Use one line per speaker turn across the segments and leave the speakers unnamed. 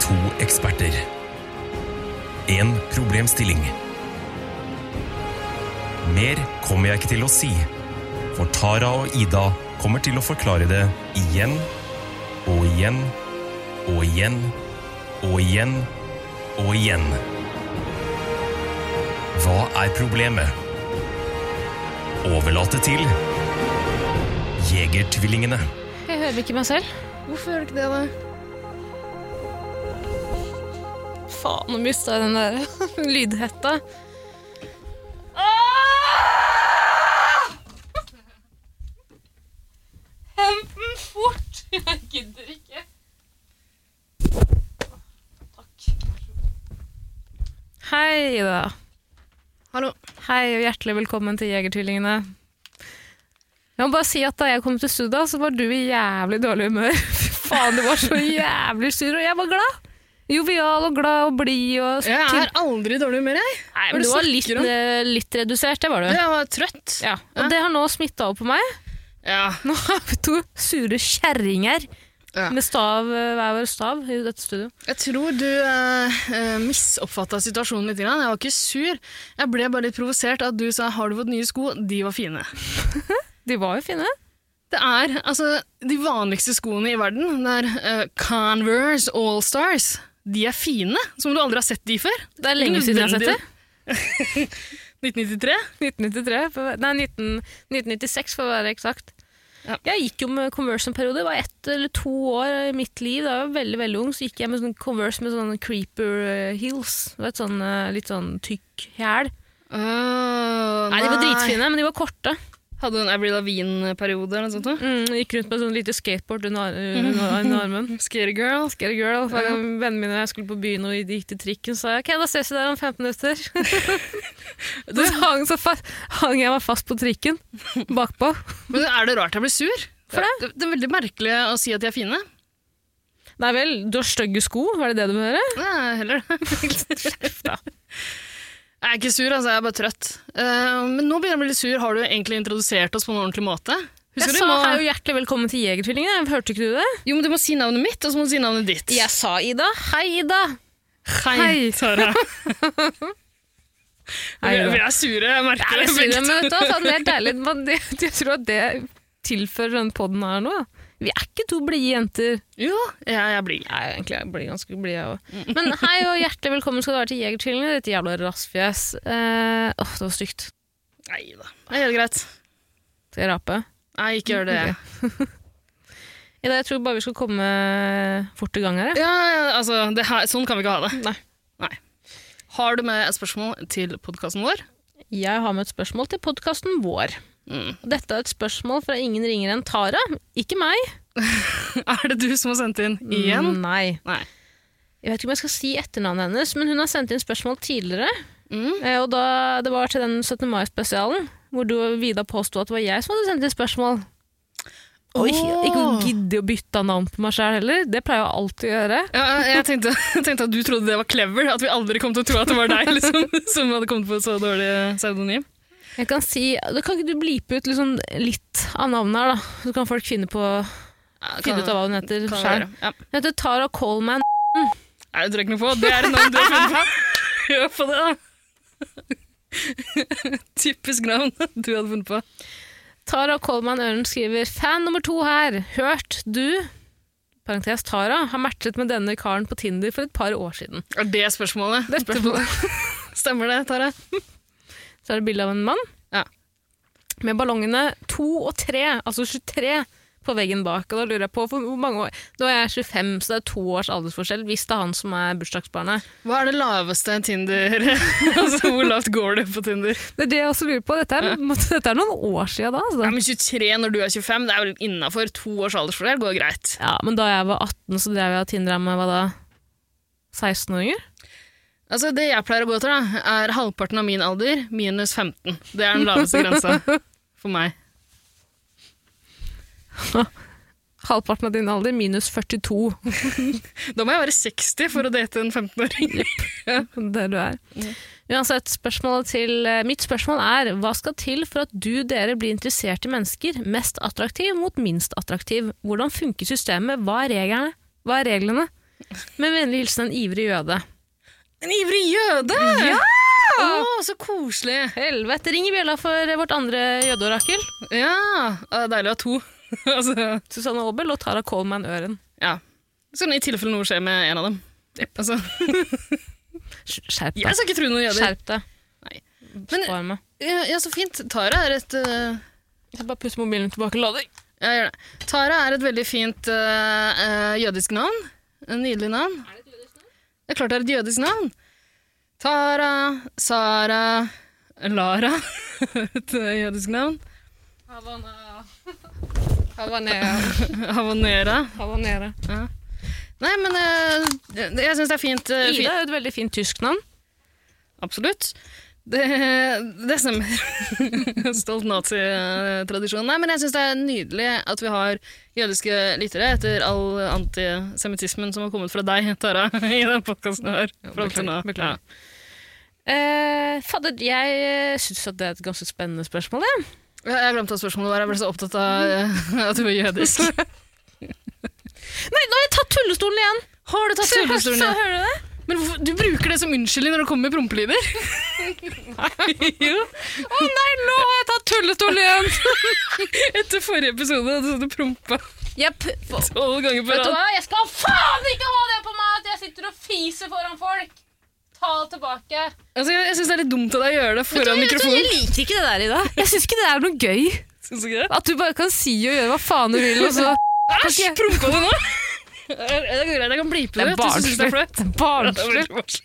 To eksperter. En problemstilling. Mer kommer jeg ikke til å si, for Tara og Ida kommer til å forklare det igjen og igjen og igjen og igjen og igjen. Hva er problemet? Overlate til Jegertvillingene.
Jeg hører ikke meg selv.
Hvorfor gjør du ikke det, da?
Faen, nå mista jeg den der lydhetta. Hent den fort! Jeg gidder ikke. Hei, da.
Hallo.
Hei og hjertelig velkommen til Jegertvillingene. Jeg må bare si at Da jeg kom til studio, så var du i jævlig dårlig humør. Fy faen, du var så jævlig sur, og jeg var glad. Jovial og glad og blid og
Jeg er aldri i dårlig humør, jeg.
Nei,
Hva er
men
det
du
du
var litt,
snakker om?
eh, litt redusert, det var du.
Jeg var trøtt.
Ja,
Ja.
og det har nå smitta over på meg.
Ja.
Nå har vi to sure kjerringer
Ja.
med stav, eh, hver vår stav i dette studio.
Jeg tror du uh, misoppfatta situasjonen litt. Grann. Jeg var ikke sur. Jeg ble bare litt provosert av at du sa 'har du fått nye sko'? De var fine.
De var jo fine.
Det er altså de vanligste skoene i verden. Det er eh, Converse All Stars. De er fine, som om du aldri har sett de før.
Det er lenge siden jeg har sett det.
1993.
1993, for, å være- nei, 19, 1996 for å være eksakt.
Ja.
Jeg gikk jo med Converse en periode. Det var ett eller to år i mitt liv. Da jeg var veldig veldig ung, så gikk jeg med sånn Converse med sånne creeper eh, heels. Du vet, sånn, eh, litt sånn tykk hæl.
Åh,
Nei, de var dritfine, men de var korte.
Hadde du en Avril Lavigne-periode eller noe sånt? da?
Mm, gikk rundt med sånn lite skateboard under, ar- under, under armen.
Scary girl.
Scary girl. Hver gang altså. vennene mine og jeg skulle på byen og de gikk til trikken, sa jeg ok, da ses vi der om 15 minutter. så, hang, så fa hang jeg meg fast på trikken bakpå.
Men er det rart jeg blir sur? For det? det er veldig merkelig å si at de er fine.
Nei vel, du har stygge sko, var det det du må høre?
Nei, heller det. Jeg er ikke sur, altså. Jeg er bare trøtt. Eh, men nå begynner jeg å bli litt sur. Har du egentlig introdusert oss på en ordentlig måte? Husker
Jeg
du,
sa
må,
hei og hjertelig velkommen til Jegertvillingene, hørte ikke du det?
jo, men du må si navnet mitt, og så må du si navnet ditt.
sa Ida. Hei, Ida.
Hei,
Hei.
Tara.
Hei,
vi,
Ida.
vi er sure, jeg merker
Jeg sier
begge
det, men vet du,
to.
hva, faen, det er deilig. Man, det, jeg tror at det tilfører denne podden her nå. Vi er ikke to blide jenter.
Jo, jeg, jeg blir
Jeg er egentlig jeg blir ganske blid, jeg òg. Men hei og hjertelig velkommen skal du være til Jegertvillingene, ditt jævla rassfjes. Eh, Åh, det var stygt.
Nei da. Det er helt greit.
Skal jeg rape?
Nei, ikke gjør det.
Ok. Ida, jeg tror bare vi skal komme fort i gang her. jeg.
Ja, ja, altså, det her, sånn kan vi ikke ha det.
Nei.
Nei. Har du med et spørsmål til podkasten vår?
Jeg har med et spørsmål til podkasten vår.
Mm.
Og Dette er et spørsmål fra ingen ringere enn Tara. Ikke meg.
Er det du som har sendt inn igjen?
Mm, Nei.
Nei.
Jeg vet ikke om jeg skal si etternavnet hennes, men hun har sendt inn spørsmål tidligere.
Mm.
Eh, Og da det var til den 17. mai-spesialen, hvor du og Vida påsto at det var jeg som hadde sendt inn spørsmål. Og ikke,
Åh.
ikke gidde å bytte navn på meg sjøl heller. Det pleier jeg alltid å gjøre.
Ja, jeg tenkte, jeg tenkte at du trodde det var clever, at vi aldri kom til å tro at det var deg liksom, som hadde kommet på et så dårlig pseudonym.
Jeg kan si, da Kan ikke du blipe ut liksom litt av navnet her, da? Så kan folk finne, på, finne ut av hva hun heter
kan
sjøl.
være. Ja.
Hun heter Tara Coleman.
Nei, det tror jeg ikke noe på. Det er et navn du har funnet på. Hør på det, da. Typisk navn du hadde funnet på.
Tara Coleman Øren skriver Fan nummer to her. Hørt du parentes Tara, har matchet med denne karen på Tinder for et par år siden.
Er det spørsmålet?
Det er spørsmålet.
Stemmer det, Tara?
Så er det bilde av en mann
Ja.
med ballongene to og tre, altså 23, på veggen bak. Og da lurer jeg på for hvor mange år Nå er jeg 25, så det er to års aldersforskjell. Hvis det er han som er bursdagsbarnet.
Hva er det laveste Tinder Altså, hvor lavt går det på Tinder?
Det er det jeg også lurer på. Dette er, dette er noen år siden da. altså.
Ja, men 23 når du er 25, det er jo innafor. To års aldersfordel går greit.
Ja, men da jeg var 18, så drev jeg og tindra med hva da? 16-åringer?
Altså, Det jeg pleier å gå etter, da, er halvparten av min alder minus 15. Det er den laveste grensa for meg.
Halvparten av din alder minus 42.
Da må jeg være 60 for å date en 15-åring.
Der du er. Uansett, spørsmålet til, eh, mitt spørsmål er hva skal til for at du dere blir interessert i mennesker, mest attraktiv mot minst attraktiv? Hvordan funker systemet? Hva er reglene? Hva er reglene? Med vennlig hilsen en ivrig jøde.
En ivrig jøde!
Ja!
Å, så koselig.
Helvete! Ring i bjella for eh, vårt andre jødeorakel.
Ja, det er deilig å ha to. altså,
Susanne Aabel og Tara Coleman Øren.
ja. Sånn i tilfelle noe skjer med en av dem. Altså,
Skjerp
jeg
deg.
skal ikke tro noen jøder.
Skjerp deg.
Nei. Men-
Spar meg.
Ja, ja, så fint. Tara er et eh,
Jeg bare pusse mobilen tilbake og lader.
Ja, gjør det. Tara er et veldig fint eh, eh, jødisk navn. En nydelig navn. Er det et jødisk navn? Det er klart det er et jødisk navn. Tara, Sara, Lara. et eh, jødisk navn.
Havanera.
Havanera. Nei, men eh, jeg syns det er fint. eh,
Ida
fint.
er jo et veldig fint tysk navn.
Absolutt. Det, det stemmer. Stolt nazitradisjon. Nei, men jeg syns det er nydelig at vi har jødiske lyttere etter all antisemittismen som har kommet fra deg, Tara, i den podkasten her. Fram til nå.
beklager, beklager. Eh, Fadder, jeg syns at det er et ganske spennende spørsmål. jeg.
Ja. Ja, Jeg glemte hva spørsmålet var. Jeg ble så opptatt av eh, at du var jødisk.
Nei, nå har jeg tatt tullestolen igjen!
Har du tatt
Se,
tullestolen?
se,
igjen?
hører du det?
Men hvorfor, du bruker det som unnskyldning når du kommer med prompelyder?
Å nei, nå har jeg tatt tullestolen igjen!
Etter forrige episode hadde du prompa
Jepp.
tolv ganger på
Vet du
rad.
hva, jeg skal faen ikke ha det på meg at jeg sitter og fiser foran folk! Ta det tilbake.
Altså, jeg jeg syns det er litt dumt av deg å gjøre det foran mikrofonen.
liker ikke det der, Ida. Jeg syns ikke det er noe gøy.
Syns du ikke det?
At du bare kan si og gjøre hva faen du vil, og så
Æsj,
Ok.
prompa du nå? Det går greit, jeg kan blipe det
Det er
ut hvis du synes det er flaut. Det er
Barnslig.
veldig barnslig.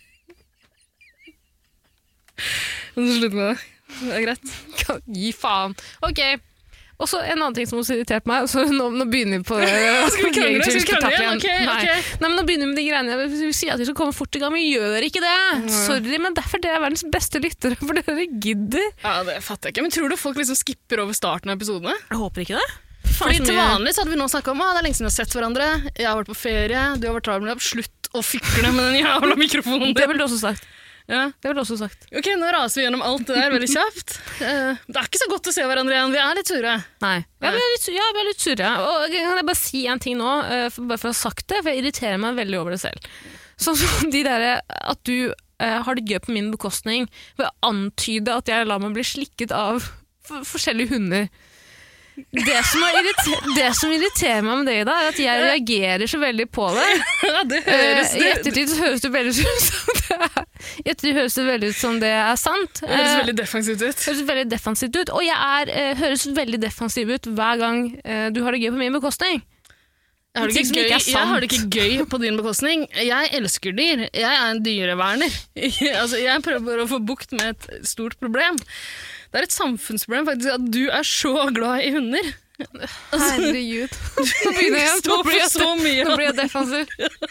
Kan du slutte med det? Det er greit.
Kan- Gi faen. Ok. Og så en annen ting som også irriterte meg. Så nå, nå begynner vi på Skal
vi krangle? Skal vi krangle igjen? Ok,
Nei.
ok.
Nei, men nå begynner vi med de greiene. Vi sier at vi skal komme fort i gang, men vi gjør ikke det. Sorry, men derfor dere er verdens beste lyttere, for dere gidder.
Ja, det fatter jeg ikke. Men tror du folk liksom skipper over starten av episodene?
Jeg håper ikke det.
Fordi til vanlig så hadde vi nå snakket om at det er lenge siden vi har sett hverandre, jeg har vært på ferie, du har vært travel med deg, slutt å fikle med den jævla mikrofonen
Det
din.
ville du også sagt.
Ja.
Det ville du også sagt.
Ok, nå raser vi gjennom alt det der veldig kjapt. Eh, Det er ikke så godt å se hverandre igjen, vi er litt sure.
Nei. Ja,
Nei.
men jeg er litt, sur- ja, men jeg er litt surre. Og kan jeg bare si en ting nå, eh, for, bare for å ha sagt det, for jeg irriterer meg veldig over det selv. Sånn som de derre at du eh, har det gøy på min bekostning ved å antyde at jeg lar meg bli slikket av f forskjellige hunder. Det som, er irriter- det som irriterer meg med det, Ida, er at jeg reagerer så veldig på det.
Ja, det
Eh,
høres
I
det.
ettertid så høres det veldig ut som det er, i ettertid høres det veldig ut som det er sant.
Det høres
Eh,
veldig defensivt ut.
høres veldig defensivt ut. Og jeg er, eh, høres veldig defensiv ut hver gang eh, du har det gøy på min bekostning.
Jeg har, det
Ting som
ikke gøy,
ikke er
jeg har det
sant.
ikke gøy på din bekostning. Jeg elsker dyr. Jeg er en dyreverner. altså, jeg prøver å få bukt med et stort problem. Det er et samfunnsproblem faktisk at du er så glad i hunder.
Herregud. Nå begynner jeg. Nå
Står
blir
for
jeg,
så mye
nå
av-
blir jeg defensiv.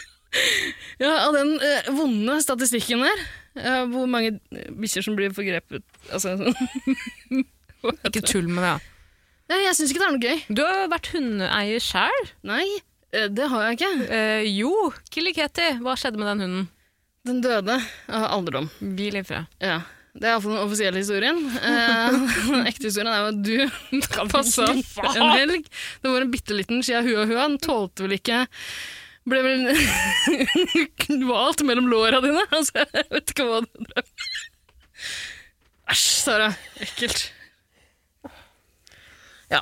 ja, av den eh, vonde statistikken der. eh, hvor mange bikkjer som blir forgrepet. Altså, sånn.
Ikke tull med det. da.
Nei, jeg syns ikke det er noe gøy.
Du har vært hundeeier sjøl.
Nei, eh, det har jeg ikke.
Eh, jo, Killy Ketty, hva skjedde med den hunden?
Den døde av alderdom.
Hvil ifra.
Ja. Det er iallfall den offisielle historien. Eh, Den ekte historien er jo at du passa opp en helg. Det var en bitte liten skia hua hua. Den tålte vel ikke Ble vel kvalt mellom låra dine. Altså, jeg vet ikke hva du drev med. Æsj, Sara. Ekkelt.
Ja.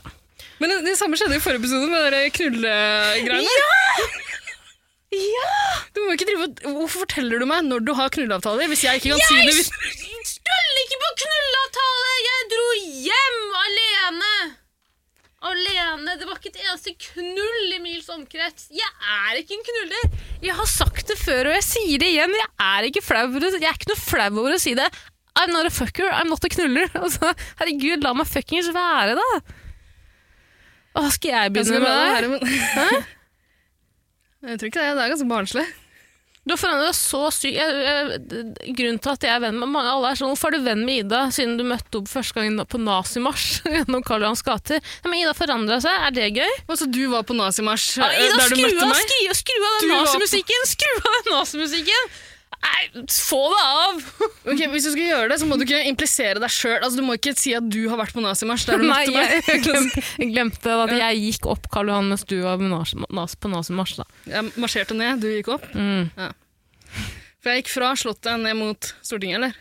Men det, det samme skjedde i forrige episode med de der knullegreiene. Du må ikke drive og- Hvorfor forteller du meg når du har knulleavtaler, hvis jeg ikke kan si det? Hvis
skulle ikke på knulleavtale! Jeg dro hjem alene! Alene. Det var ikke et eneste knull i mils omkrets. Jeg er ikke en knuller. Jeg har sagt det før, og jeg sier det igjen. Jeg er ikke flau over, det. Jeg er ikke noe flau over å si det. I'm not a fucker, I'm not a knuller. Altså, herregud, la meg fuckings være, da. Åh, skal jeg
Jeg
begynne med det?
skal bare være med- Jeg tror ikke det. Det er ganske barnslig.
Du har forandret deg så sykt. Jeg- jeg- d- Grunnen til at jeg er venn med mange alle er sånn, hvorfor er du venn med Ida siden du møtte opp første gangen på nazimarsj gjennom Karl Johans gater? Nei, men Ida forandra seg, er det gøy?
Altså, du var på nazimarsj
Ja,
eh,
Ida,
der du
skru
møtte
av,
meg.
skru, skru av
Du
den
var på-
nazimusikken! Skru av den nazimusikken! Nei, få det av!
Ok, Hvis du skal gjøre det, så må du ikke implisere deg sjøl. Altså, du må ikke si at du har vært på nazimarsj. Der du
Nei,
møtte meg.
jeg, jeg glemte, jeg glemte at jeg gikk opp Karl Johan mens du var på nas- nas- på nazimarsj. da.
Jeg marsjerte ned, du gikk opp.
Mm.
Ja. For jeg gikk fra Slottet ned mot Stortinget, eller?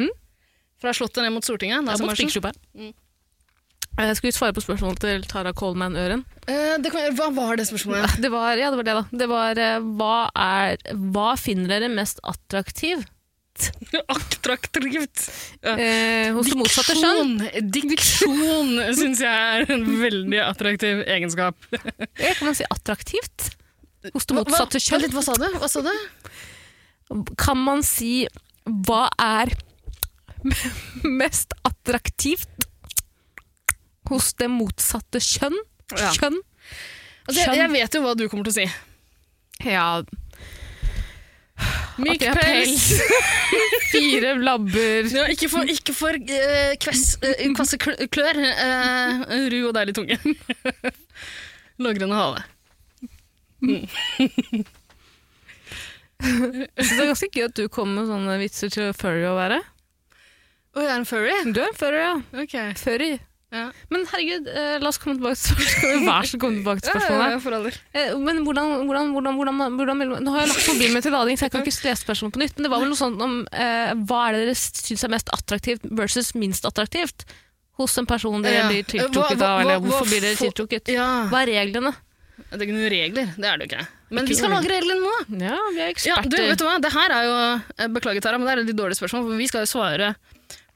Hm?
Fra Slottet ned mot Stortinget.
Jeg måtte
nazimarsjen.
fikse opp her.
Mm.
Jeg skulle Eh, svare på spørsmålet til Tara Coleman Øren.
Eh, det kan, hva var det spørsmålet? igjen?
Ah, Det var, ja, det var det, da. Det var eh, hva, er, hva finner dere mest attraktiv
Attraktivt. Ja.
eh, hos det motsatte kjønn?
Diksjon syns jeg er en veldig attraktiv egenskap.
Ja, Kan man si attraktivt? Hos det motsatte
Hva-
kjønn?
Hva sa du? Hva sa du?
Kan man si hva er mest attraktivt hos det motsatte kjønn?
Ja.
Kjønn?
Altså, jeg,
Kjønn.
jeg vet jo hva du kommer til å si.
Ja,
Myk
jeg har
pels.
fire labber.
Ja, ikke for, ikke for eh, kvass, eh, kvasse kl- klør. eh, ru og deilig tunge. Låggrønne hale.
Jeg synes det er ganske gøy at du kommer med sånne vitser til furry å være.
Å, jeg er en furry?
Du er en furry, ja.
Ok.
Furry.
Ja.
Men herregud, eh, la oss komme tilbake til spørsmålet. Vær så god, komme tilbake til spørsmålet.
for alder.
Eh, men hvordan, hvordan, hvordan, hvordan, hvordan vil- Nå har jeg lagt mobilen min til lading, så jeg kan ikke lese spørsmålet på nytt. Men det var vel noe sånt om eh, hva er det dere syns er mest attraktivt versus minst attraktivt hos en person dere
Ja.
blir tiltrukket
Hva- hva-
av, eller
hva-
hvorfor
hva
blir dere
for-
tiltrukket?
Ja.
Hva er reglene?
Det er ikke noen regler. Det er det jo ikke. Men
Ikke
vi skal
noen
lage reglene nå.
Ja, vi er
Ja,
eksperter.
du, vet du hva? Det her er jo eh, Beklager, Tara, men det er et litt dårlig spørsmål, for vi skal jo svare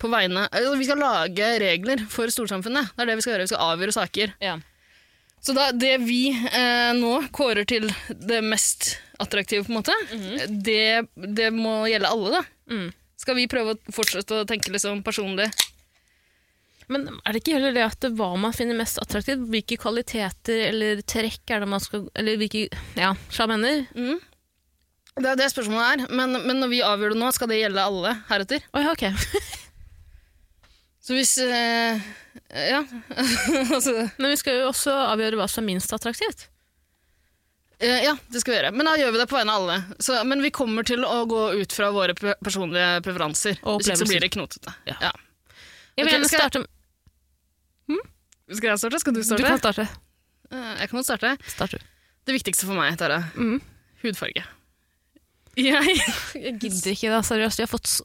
på vegne altså, Vi skal lage regler for storsamfunnet. Det er det vi skal gjøre. Vi skal avgjøre saker.
Ja.
Så da, det vi eh, nå kårer til det mest attraktive, på en måte,
Mhm.
det, det må gjelde alle, da.
Mm.
Skal vi prøve å fortsette å tenke liksom personlig?
Men er det ikke heller det at det- hva man finner mest attraktivt? Hvilke kvaliteter eller trekk er det man skal Eller hvilke Ja, hva jeg mener?
Mhm. Det er det spørsmålet er. Men, men når vi avgjør det nå, skal det gjelde alle heretter?
Å ja, ok.
Så hvis eh, Ja, altså
Men vi skal jo også avgjøre hva som er minst attraktivt.
Eh, Ja, det skal vi gjøre. Men da gjør vi det på vegne av alle. Så, men vi kommer til å gå ut fra våre pe- personlige preferanser.
Og
Hvis ikke så
opplevelser.
blir det knotete.
Ja.
Ja.
Jeg vil
Ok,
gjerne
skal jeg-
starte
Skal jeg starte? Skal du
Du
starte?
kan starte.
Eh, Jeg kan godt starte.
Start du.
Det viktigste for meg, Tara,
Mhm.
hudfarge. Jeg
Jeg gidder ikke da, seriøst. Vi har fått så...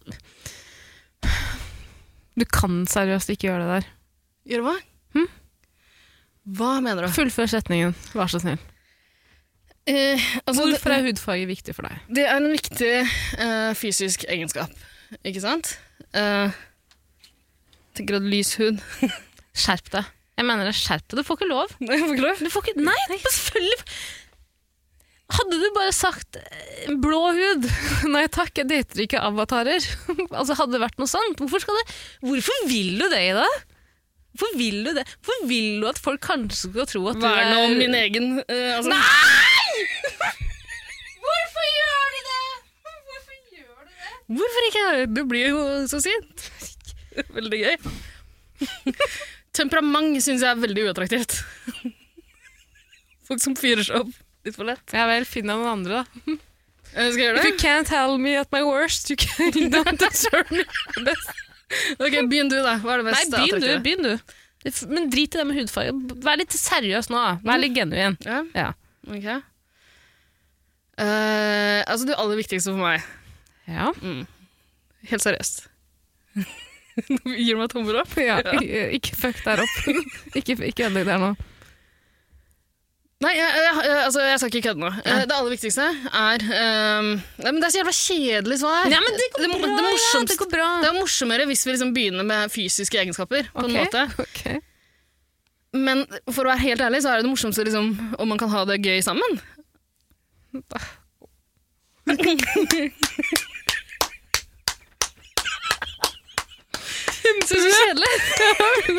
Du kan seriøst ikke gjøre det der.
Gjør hva? Hva mener du?
Fullfør setningen, vær så snill.
Eh, altså, det-
Hvorfor er hudfarge viktig for deg?
Det er en viktig eh, fysisk egenskap, ikke sant? Eh, tenker at lys hud
Skjerp deg. Jeg mener det, skjerp deg. Du får ikke lov.
Nei, jeg får ikke lov.
Du får ikke... Nei, selvfølgelig! Hadde du bare sagt eh, blå hud Nei takk, jeg dater ikke avatarer. altså Hadde det vært noe sånt? Hvorfor, skal det... Hvorfor vil du det i dag? Hvorfor vil du det? Hvorfor vil du at folk kanskje skal tro at
Verne
du er
om min egen eh, altså,
Hvorfor gjør de det?! Hvorfor gjør de det?
Hvorfor ikke? Du blir jo så sint. Veldig gøy. Temperament syns jeg er veldig uattraktivt. Folk som fyrer seg opp litt for lett.
Ja vel, finn deg noen andre, da.
Eh, skal jeg
If
gjøre
you
det?
can't tell me at my worst, you can don't deserve me.
Ok, Begynn du, da. Hva er
Nei,
det mest
begynn du.
attraktive?
begynn du. Det f- Men drit i det med hudfarge. Vær litt seriøs nå. da. Vær litt genuin.
Ja,
Ja.
ok. Eh, altså, det aller viktigste for meg
Ja.
Helt seriøst. Nå gir du meg tommer opp.
Ikke fuck der opp. ikke ikke ødelegg der nå.
Nei, jeg, jeg, jeg, altså, jeg skal ikke kødde nå. Eh, Det aller viktigste er ehm, Nei, men Det er så jævla kjedelig svar.
Nei, men det går
det,
bra.
det
ja,
morsomste
det går bra.
Det er morsommere hvis vi liksom begynner med fysiske egenskaper. på en
Ok,
måte.
ok.
Men for å være helt ærlig, så er det det morsomste liksom, om man kan ha det gøy sammen. Synes du det er kjedelig?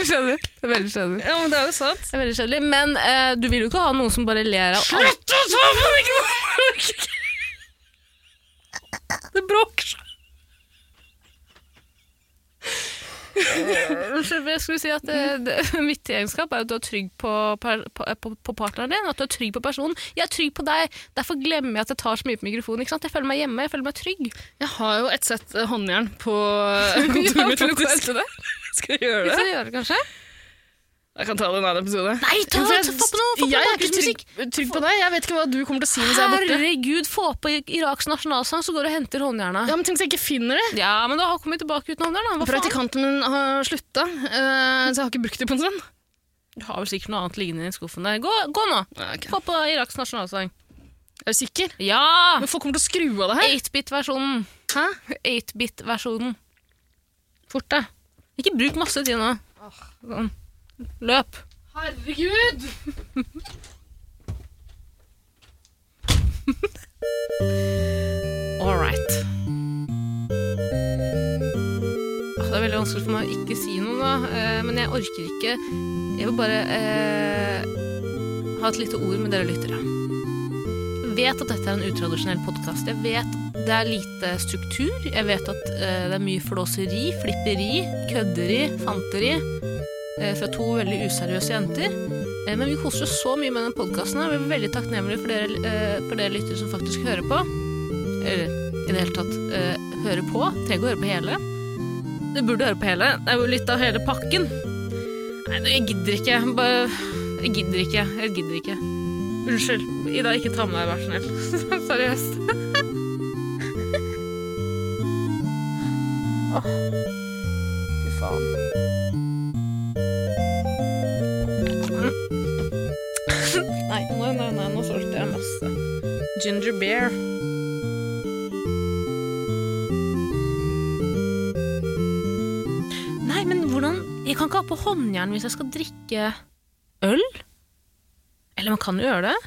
Skjønner. Det er veldig kjedelig.
Ja, men det er jo sant.
Det er veldig kjedelig. Men eh, du vil jo ikke ha noen som bare ler av alt.
Slutt å ta på meg! Det bråker så
bare Eh, jeg skulle si at eh, det, Mitt egenskap er at du er trygg på, per, på, eh, på, på partneren din, at du er trygg på personen. Jeg er trygg på deg, derfor glemmer jeg at jeg tar så mye på mikrofonen. Ikke sant? Jeg føler meg hjemme, jeg føler meg trygg.
Jeg har jo et sett eh, håndjern på eh, kontoret mitt, faktisk. Skal jeg gjøre
Hvis
det?
jeg gjør det, kanskje?
Jeg kan ta det i en annen episode.
Nei, ta
For
det!
jeg-
Få på noe! Få på
Jeg
noe
er ikke trygg,
bakgrunnsmusikk!
trygg på deg. Jeg vet ikke hva du kommer til å si mens jeg er borte.
Herregud, få på Iraks nasjonalsang, så går du og henter håndjerna.
Ja, men Tenk hvis jeg ikke finner det.
Ja, men da har jeg kommet tilbake uten håndjern, da. Hva faen?
Praktikanten min har slutta, eh, så jeg har ikke brukt det på en stund.
Du har vel sikkert noe annet liggende i skuffen der. Gå, gå nå!
Okay.
Få på Iraks nasjonalsang.
Er du sikker?
Ja!
Men Folk kommer til å skru av det her.
8-bit-versjonen.
Hæ?
8-bit-versjonen. Fort deg. Ikke bruk masse tid nå. Sånn. Løp.
Herregud!
All right. Ah, Det er veldig vanskelig for meg å ikke si noe nå, eh, men jeg orker ikke. Jeg vil bare eh, ha et lite ord med dere lyttere. Jeg vet at dette er en utradisjonell podkast. Jeg vet det er lite struktur. Jeg vet at eh, det er mye flåseri, flipperi, kødderi, fanteri eh, fra to veldig useriøse jenter. Eh, men vi koser oss så mye med den podkasten. Vi er veldig takknemlige for dere, eh, for dere lyttere som faktisk hører på eller i det hele tatt eh, høre på. Trenger ikke å høre på hele. Du burde høre på hele. Det er jo litt av hele pakken. Nei, du, jeg gidder ikke. Jeg Bare, jeg gidder ikke. Jeg gidder ikke. Unnskyld. Ida, ikke ta med deg, vær så snill. Seriøst. Åh, Fy faen. Mm. Nei, nei, nei, nei, nå solgte jeg masse. Ginger beer. Nei, men hvordan Jeg kan ikke ha på håndjern hvis jeg skal drikke øl? Eller man kan jo gjøre det.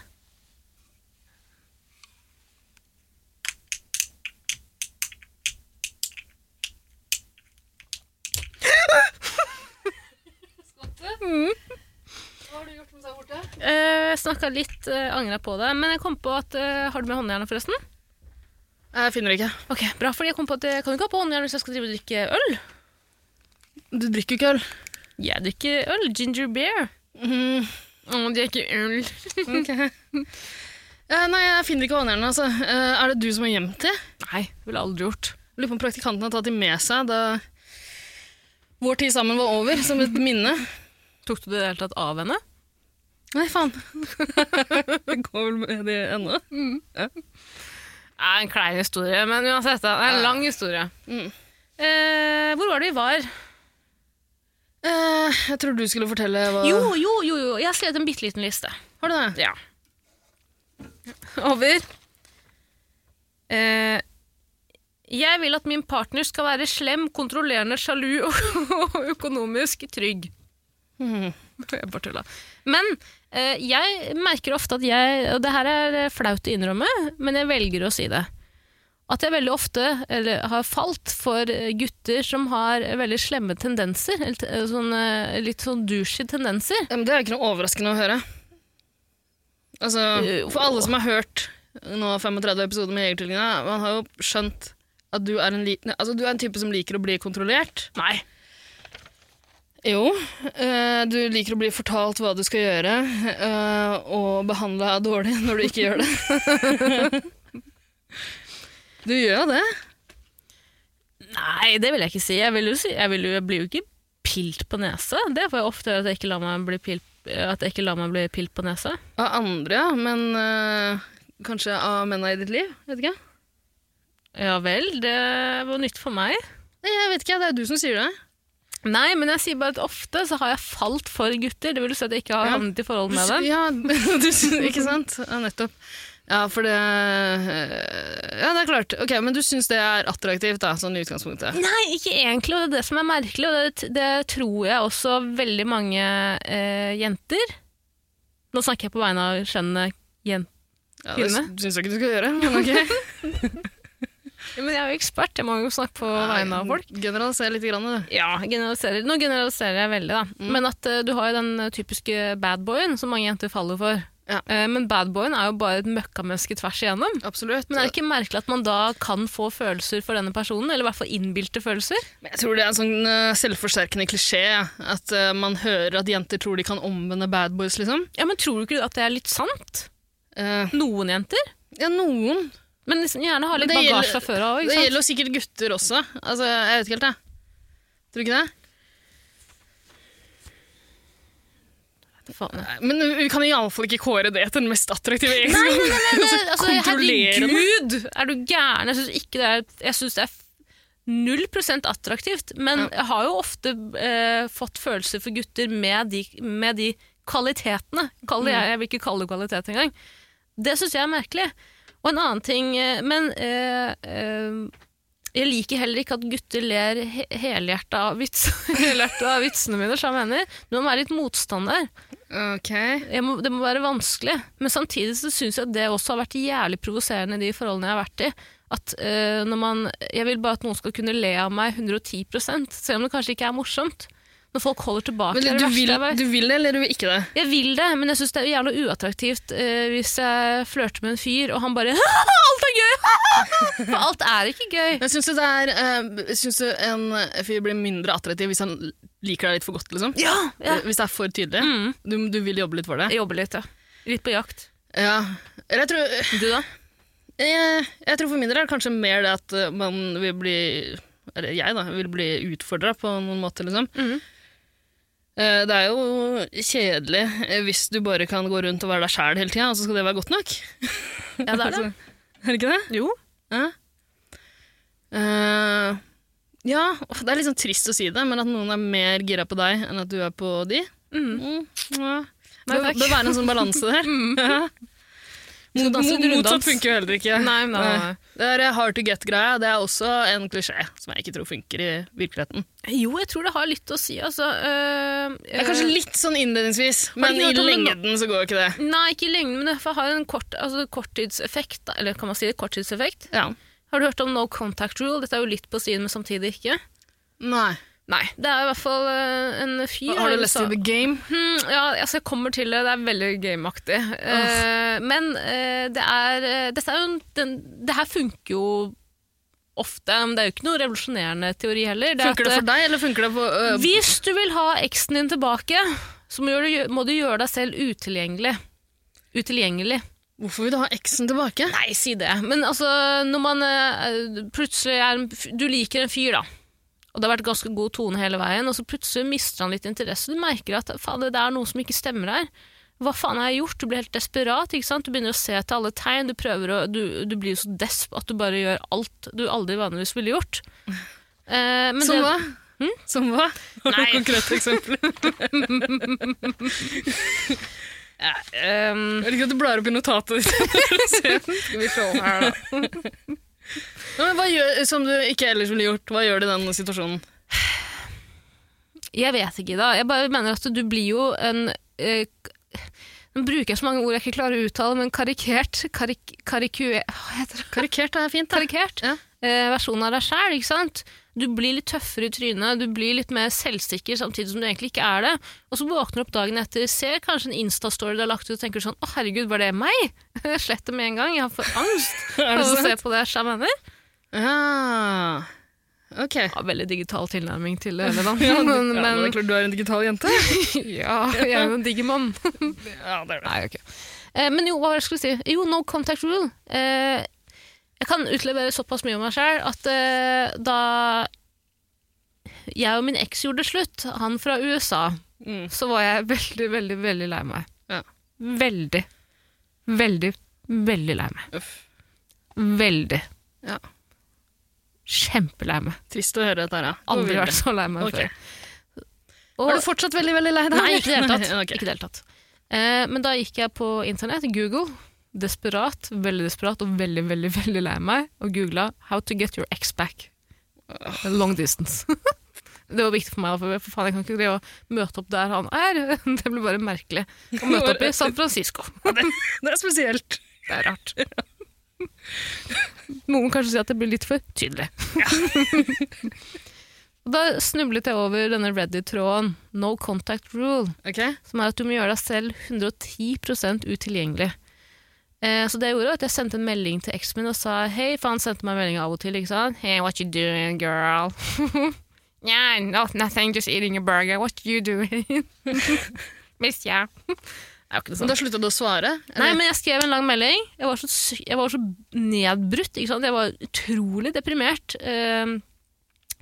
Hva har du gjort mens jeg er borte?
Mm. Eh, Jeg snakka litt, uh, angra på det. Men jeg kom på at eh, Har du med håndjernet, forresten?
Jeg finner det ikke.
Ok, bra, fordi jeg kom på at jeg kan jo ikke ha på håndjern hvis jeg skal drive og drikke øl.
Du drikker jo ikke øl.
Jeg drikker øl. Ginger beer.
Mm.
Å, det er ikke øl.
Eh, nei, jeg finner ikke håndjernet. Altså. Eh, er det du som har gjemt det?
Nei, ville aldri gjort.
Lurer på om praktikanten har tatt det med seg da vår tid sammen var over, som et minne.
Tok du det i det hele tatt av henne?
Nei, faen. det går vel med det ennå.
Nei, en klein historie, men uansett. da, Det er en lang historie.
Mm.
Eh, hvor var det vi var?
Eh, jeg tror du skulle fortelle hva
Jo, jo, jo, jo. Jeg har skrevet en bitte liten liste.
Har du det?
Ja. Over. Eh, jeg vil at min partner skal være slem, kontrollerende, sjalu og, og økonomisk trygg.
Mhm.
Jeg bare tulla. Men eh, jeg merker ofte at jeg Og det her er flaut å innrømme, men jeg velger å si det. At jeg veldig ofte eller, har falt for gutter som har veldig slemme tendenser. Eller, t- eh, sånne, litt sånn douchey tendenser.
Ja, men det er jo ikke noe overraskende å høre. Altså,
Jo.
for alle som har hørt nå 35 episoder med Jegertvillingene, man har jo skjønt at du er, en li nei, altså, du er en type som liker å bli kontrollert.
Nei.
Jo. eh, du liker å bli fortalt hva du skal gjøre, eh, og behandla dårlig når du ikke gjør det. du gjør jo det.
Nei, det vil jeg ikke si. Jeg, vil jo si, jeg, vil jo, jeg blir jo ikke pilt på nesa. Det får jeg ofte høre, at jeg ikke lar meg bli pilt, at jeg ikke lar meg bli pilt på nesa.
Av andre, ja, men eh, kanskje av mennene i ditt liv? Vet ikke.
Ja vel, det var nytt for meg.
Nei, Jeg vet ikke, det er jo du som sier det.
Nei, men jeg sier bare at ofte så har jeg falt for gutter. Det vil si at jeg ikke har
Ja.
havnet i forhold
Du
med
sy-
dem.
Ja, du, sy- ikke sant? Ja, nettopp. Ja, for det eh, Ja, det er klart. Ok, Men du syns det er attraktivt, da, sånn i utgangspunktet?
Nei, ikke egentlig, og det er det som er merkelig, og det, det tror jeg også veldig mange eh, jenter Nå snakker jeg på vegne av skjønnet jenter.
Ja, det
Kvinne?
syns jeg ikke du skal gjøre, men ok.
Men jeg er jo ekspert, jeg må jo snakke på vegne av folk.
Generaliser litt, grann, du.
Ja, generaliserer. Mm. nå generaliserer jeg veldig, da. Men at eh, du har jo den eh, typiske badboyen som mange jenter faller for.
Ja.
Eh, Men badboyen er jo bare et møkkamenneske tvers igjennom.
Absolutt.
Men er det ikke merkelig at man da kan få følelser for denne personen? Eller i hvert fall innbilte følelser?
Men Jeg tror det er en sånn eh, selvforsterkende klisjé. ja. At eh, man hører at jenter tror de kan omvende bad boys, liksom.
Ja, men tror du ikke at det er litt sant?
Eh,
Noen jenter?
ja, noen.
Men liksom gjerne ha litt
det
bagasje
gjelder-
fra før av
Det
òg.
gjelder jo sikkert gutter også. Altså, jeg vet ikke helt, jeg. Tror du ikke det? Nei, Men vi kan iallfall ikke kåre det til den mest attraktive gjengen.
Altså,
Kontrollerende.
herregud! Er du gæren? Jeg syns ikke det er Jeg synes det er f- null prosent attraktivt. Men jeg har jo ofte eh, fått følelser for gutter med de, med de kvalitetene. Kall det jeg, jeg vil ikke kalle det kvalitet engang. Det syns jeg er merkelig. Og en annen ting eh, Men eh, eh, jeg liker heller ikke at gutter ler he helhjerta av, vits helhjerta av vitsene mine. Så jeg mener, du må være litt motstander
Ok.
jeg må, det må være vanskelig. Men samtidig så syns jeg at det også har vært jævlig provoserende i de forholdene jeg har vært i. At øh, når man, Jeg vil bare at noen skal kunne le av meg 110 selv om det kanskje ikke er morsomt. Når folk holder tilbake.
Men
det er
du
det verste
vil,
jeg vet.
du vil det, eller du vil ikke det?
Jeg vil det, men jeg syns det er jævla uattraktivt eh, hvis jeg flørter med en fyr, og han bare Alt er gøy! For alt er ikke gøy.
Jeg syns det er eh, jeg synes det en fyr blir mindre attraktiv hvis han liker deg litt for godt, liksom.
Ja, ja.
Hvis det er for tydelig. Du, du vil jobbe litt for det.
Jeg jobber litt, ja. Litt på jakt.
Ja. Eller jeg tror,
Du, da?
jeg, Eh, jeg tror for min del er det kanskje mer det at eh, man vil bli Eller jeg, da. Vil bli utfordra på noen måte, liksom.
Mhm.
Eh, Det er jo kjedelig eh, hvis du bare kan gå rundt og være deg sjæl hele tida, og så skal det være godt nok.
Ja, det er det.
Altså, er det ikke det?
Jo.
Ja. Eh, ja, åh, det er litt sånn trist å si det, men at noen er mer gira på deg enn at du er på de.
Mm.
Mm, ja.
Nei,
Det
takk. Mm.
bør være en sånn balanse der. Ja.
Skal
Mot,
danse
mot,
runddans.
motsatt funker jo heller ikke.
Nei, nei, nei.
Det er eh, hard to get-greia. Det er også en klisjé som jeg ikke tror funker i virkeligheten.
Jo, jeg tror det har litt å si, altså. øh,
Det er kanskje litt sånn innledningsvis, men
ikke
i
hørt om det nå?
lengden så går jo ikke det.
Nei, ikke i lengden, men det har en kort, altså, korttidseffekt. da. Eller kan man si det? Korttidseffekt.
Ja.
Har du hørt om no contact rule? Dette er jo litt på siden, men samtidig ikke.
Nei.
Nei, det er i hvert fall eh, en fyr
Har
her i
du lest
USA-
i The Game?
Hmm, ja, altså jeg kommer til det. Det er veldig gameaktig. Eh, men eh, det er eh, Dette er jo en den, Det her funker jo ofte, men det er jo ikke noe revolusjonerende teori heller. er at, eh,
Funker det for deg, eller funker det for øh,
Hvis du vil ha eksen din tilbake, så må du, må du gjøre deg selv utilgjengelig. Utilgjengelig.
Hvorfor vil du ha eksen tilbake?
Nei, si det. Men altså, når man eh, plutselig er en f- Du liker en fyr, da. Og det har vært ganske god tone hele veien, og så plutselig mister han litt interesse. Du merker at faen, det er noe som ikke stemmer her. Hva faen har jeg gjort? Du blir helt desperat. ikke sant? Du begynner å se til alle tegn. Du, prøver å, du, du blir jo så desp at du bare gjør alt du aldri vanligvis ville gjort. Eh, men
Som
det-
hva? Som hva? Hm? Har du
Nei.
konkrete eksempler?
Ehm,
Jeg liker at du blar opp i notatet ditt.
Skal vi se her, da.
Ja, men hva gjør, som du ikke ellers ville gjort, hva gjør du i den situasjonen?
Jeg vet ikke, da. Jeg bare mener at du blir jo en eh, k- Nå bruker jeg så mange ord jeg ikke klarer å uttale, men karikert karik, karikue- Hva heter det?
Karikert er fint, da.
Karikert
Ja.
eh, versjon av deg sjæl, ikke sant? Du blir litt tøffere i trynet, du blir litt mer selvsikker samtidig som du egentlig ikke er det. Og så våkner du opp dagen etter, ser kanskje en Insta-story du har lagt ut og tenker sånn 'Å, herregud, var det meg?' Jeg sletter det med en gang, jeg har for angst
Er
av
det
å se
sant?
på det jeg mener.
Ja. Ok.
Ja, veldig digital tilnærming til det, Levan.
Ja, du,
men,
ja, men det er
men
klart du er en digital jente.
Ja, jeg er jo en digger mann.
Ja, det er det.
Nei, ok. Eh, men jo, hva var det jeg skulle si? Jo, no contact rule. Eh, jeg kan utlevere såpass mye om meg sjøl at eh, da jeg og min eks gjorde det slutt, han fra USA,
Mm.
så var jeg veldig, veldig, veldig lei meg.
Ja.
Veldig. Veldig, veldig lei meg.
Uff.
Veldig.
Ja.
Kjempelei meg.
Trist å høre dette her, ja. Gå
Aldri
videre.
vært så lei meg
Ok.
før.
Er du fortsatt veldig, veldig lei deg?
Nei, ikke i det hele tatt.
Nei, ok.
Ikke i det hele tatt. Eh, men da gikk jeg på internett, Google, desperat, veldig desperat og veldig, veldig veldig lei meg, og googla 'How to get your ex back'. Long distance. det var viktig for meg, for for faen, jeg kan ikke greie å møte opp der han er. Det blir bare merkelig. Å møte opp i San Francisco.
Det er spesielt.
Det er rart. Noen kanskje sier at det blir litt for tydelig. Og Da snublet jeg over denne Reddit-tråden, No Contact Rule,
Ok?
som er at du må gjøre deg selv 110 utilgjengelig. Eh, så det jeg gjorde, var at jeg sendte en melding til eksen min og sa hei, for han sendte meg meldinger av og til. ikke sant? Hey, what you doing, girl? yeah, no, nothing, just eating a burger. What you doing? Miss ya. Det er jo ikke noe sånt.
Men da slutta du å svare?
Nei, men jeg skrev en lang melding. Jeg var så, sy- jeg var så nedbrutt. Ikke sant? Jeg var utrolig deprimert. Ehm,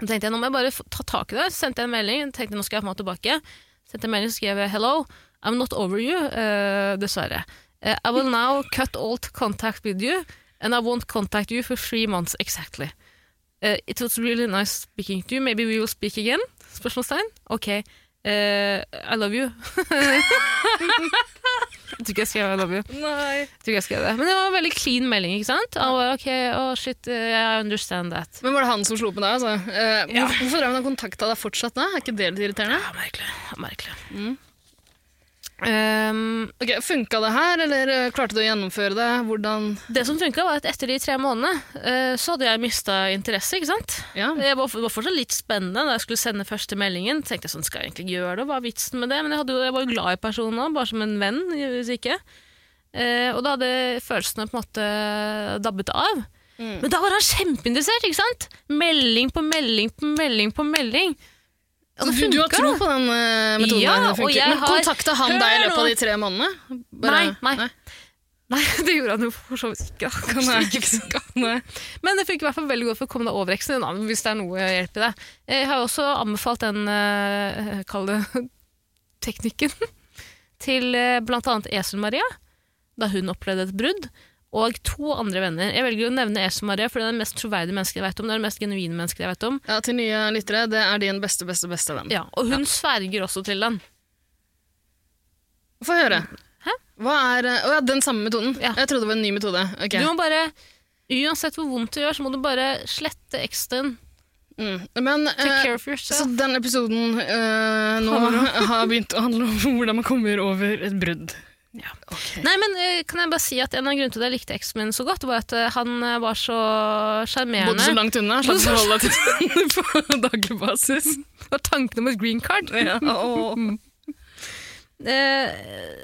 Da tenkte jeg, nå må jeg bare få- ta tak i det. Så sendte jeg en melding. tenkte nå skal jeg få meg tilbake. Sendte en melding, så skrev jeg 'hello, I'm not over you', eh, dessverre. Eh, 'I will now cut all contact with you, and I won't contact you for three months exactly'. Eh, 'It was really nice speaking to you, maybe we will speak again?' Spørsmålstegn. Ok. Eh, 'I love you'. jeg tror ikke jeg skrev 'I love you'.
Nei.
Jeg tror ikke jeg skrev det. Men det var en veldig clean melding, ikke sant? Han var ok, oh shit, eh, I understand that.
Men var det han som slo på deg, altså? Eh, hvor-
Ja.
Hvorfor drev han og kontakta deg fortsatt da? Er ikke det litt irriterende?
Ja, merkelig. Ja, merkelig. Mm. Ehm,
Ok, Funka det her, eller eh, klarte du å gjennomføre det? Hvordan
det som funka, var at etter de tre månedene eh, så hadde jeg mista interesse, ikke sant?
Ja.
Det var, var fortsatt litt spennende da jeg skulle sende første meldingen. tenkte jeg sånn, skal jeg egentlig gjøre det, hva er vitsen med det? Men jeg, hadde jo, jeg var jo glad i personen òg, bare som en venn, hvis ikke. Eh, og da hadde følelsene på en måte dabbet av.
Mm.
Men da var han kjempeinteressert, ikke sant? Melding på melding på melding på melding. Og
Så
altså, det
Altså, du, du har
funka.
tro på den eh, metoden?
Ja,
der, den
og
funker.
jeg
Men
har-
kontakta han
Hør
deg i løpet av
nå.
de tre månedene?
Nei, nei. Nei, det gjorde han jo for så vidt ikke. da. Kanskje
Nei,
ikke.
ikke sant? Nei.
Men det funker i hvert fall veldig godt for å komme deg over eksen din, da, hvis det er noe hjelp i det. Jeg har jo også anbefalt den, eh, kall det, teknikken til eh, blant annet Esel-Maria, da hun opplevde et brudd, og to andre venner. Jeg velger å nevne Esel-Maria, for det er den mest troverdige mennesket jeg vet om. Det er det mest genuine mennesket jeg vet om.
Ja, til nye lyttere, det er din beste, beste, beste venn.
Ja, og hun sverger også til den.
Få høre.
Hæ?
Hva er eh, Å ja, den samme metoden.
Ja.
Jeg trodde det var en ny metode. Ok.
Du må bare, uansett hvor vondt det gjør, så må du bare slette eksen.
Mm. Men
Take
eh,
care of
så
yourself.
den episoden eh, nå har begynt å handle om hvordan man kommer over et brudd.
Ja.
Ok.
Nei, men eh, kan jeg bare si at En av grunnene til at jeg likte eksen min så godt, var at eh, han eh, var så
Bodde så
sjarmerende.
langt unna, slapp å holde deg til den på daglig basis.
Og tanken om et green card.
Ja. å.
Eh,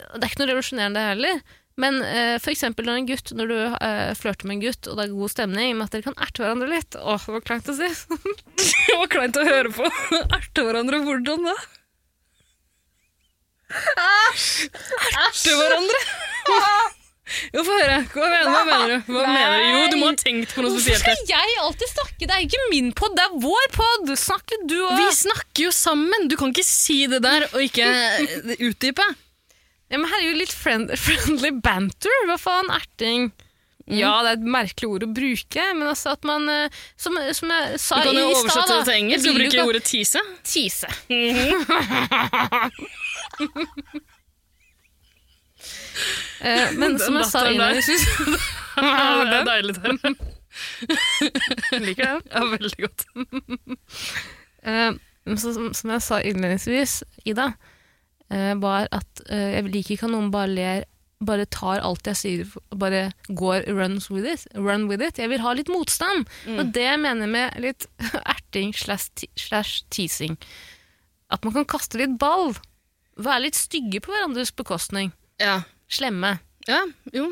og det er ikke noe revolusjonerende heller. Men eh, for eksempel når en gutt, når du eh, flørter med en gutt, og det er god stemning, med at dere kan erte hverandre litt Åh, det var kleint å si.
Det var kleint å høre på. Erte hverandre hvordan da? Æsj! Erte hverandre? Jo, få høre. Hva mener, hva mener du? Hva
Nei.
mener du? Jo, du må ha tenkt på noe
Hvorfor
spesielt. her.
skal jeg alltid snakke? Det er ikke min pod, det er vår pod! Snakk litt du
Vi
òg.
snakker jo sammen! Du kan ikke si det der og ikke utdype.
Ja, men her er jo litt friend friendly banter. Hva faen? Erting.
Mm.
Ja, det er et merkelig ord å bruke, men altså at man eh, Som, som jeg
Du
sa
kan
i i
jo
stad,
oversette
da,
det til engelsk
jeg
og
vil
bruke
jo ikke-
ordet tise.
Tise. Eh, men
Den
som jeg sa
datteren der.
innledningsvis
Ja, det er deilig der.
Liker den.
Ja, veldig godt.
Eh, men så, som, som jeg sa innledningsvis, Ida, eh, var at eh, jeg liker ikke at noen bare ler, bare tar alt jeg sier, bare går runs with it, run with it. Jeg vil ha litt motstand. Og det jeg mener med litt erting slash ti- slash teasing. At man kan kaste litt ball. Være litt stygge på hverandres bekostning.
Ja.
Slemme.
ja, jo.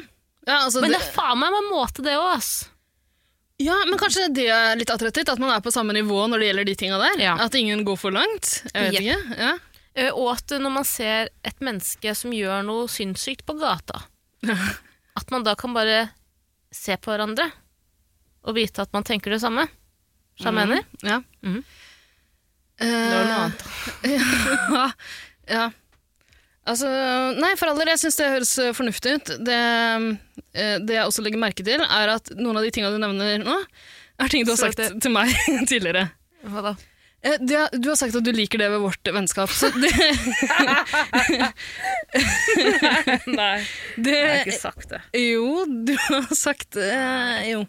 Ja, altså
Men
det,
det er faen meg med måte, det òg, ass.
ja, men kanskje det er litt attraktivt, at man er på samme nivå når det gjelder de tinga der.
Ja.
At ingen går for langt. Jeg vet ikke. Ja.
Eh, Og at eh, når man ser et menneske som gjør noe sinnssykt på gata, at man da kan bare se på hverandre og vite at man tenker det samme. Som jeg mener.
Ja.
Mhm. Det
Eh,
var noe annet.
ja, ja. Altså, nei, for all del, jeg syns det høres eh, fornuftig ut. Det, eh, det jeg også legger merke til, er at noen av de tinga du nevner nå, er ting du har
Så
sagt til meg tidligere.
Hva da?
Eh, det, du har sagt at du liker det ved vårt vennskap, så det,
Nei,
det
sagt det.
eh, Jo, du har sagt eh, Jo.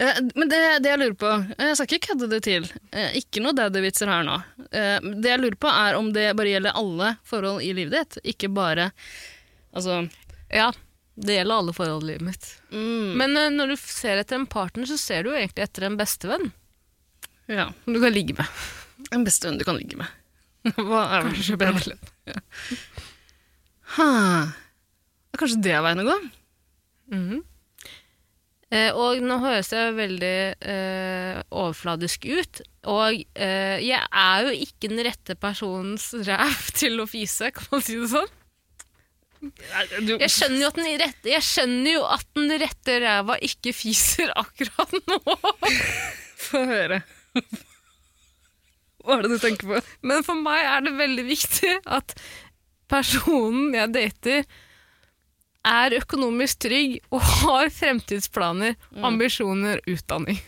Eh, men det, det jeg lurer på eh, Jeg skal ikke kødde det til. Eh, ikke noe daddy-vitser her nå. Eh, det jeg lurer på, er om det bare gjelder alle forhold i livet ditt, ikke bare Altså mm.
Ja, det gjelder alle forhold i livet mitt. Men eh, når du f- ser etter en partner, så ser du jo egentlig etter en bestevenn
Ja.
som du kan ligge med.
Den beste vennen du kan ligge med. Hva er vel ikke bedre? Ja. Ha. Kanskje det er veien å gå?
Mhm. Eh, og nå høres jeg veldig eh, overfladisk ut, og eh, jeg er jo ikke den rette personens ræv til å fise, kan man si det sånn.
Nei, Du,
Jeg skjønner jo at den rette, jeg skjønner jo at den rette ræva ikke fiser akkurat nå.
Få høre. Hva er det du tenker på?
Men for meg er det veldig viktig at personen jeg dater, er økonomisk trygg og har fremtidsplaner, ambisjoner, utdanning.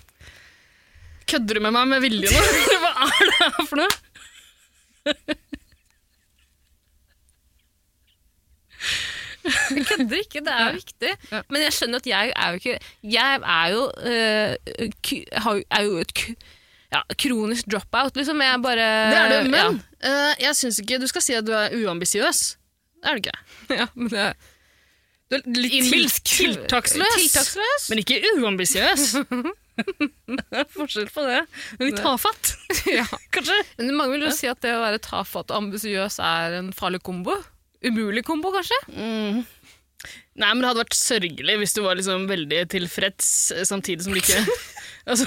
Kødder du med meg med vilje nå? Hva er det her for noe?
Jeg kødder ikke, det er viktig.
Ja.
Men jeg skjønner at jeg er jo ikke Jeg er jo, eh, k- har jo- er jo et k- ja, kronisk dropout, liksom. Jeg bare
Det er det, men eh, jeg syns ikke Du skal si at du er uambisiøs. Det er du ikke.
ja, ja, men det,
Du er litt
Innbilsk.
til- tiltaksløs.
Tiltaksløs.
Men ikke uambisiøs. det er forskjell på det. Men litt tafatt,
ja.
kanskje.
Men mange vil jo si at det å være tafatt og ambisiøs er en farlig kombo. Umulig kombo, kanskje?
Nei, men det hadde vært sørgelig hvis du var liksom veldig tilfreds eh, samtidig som du ikke altså,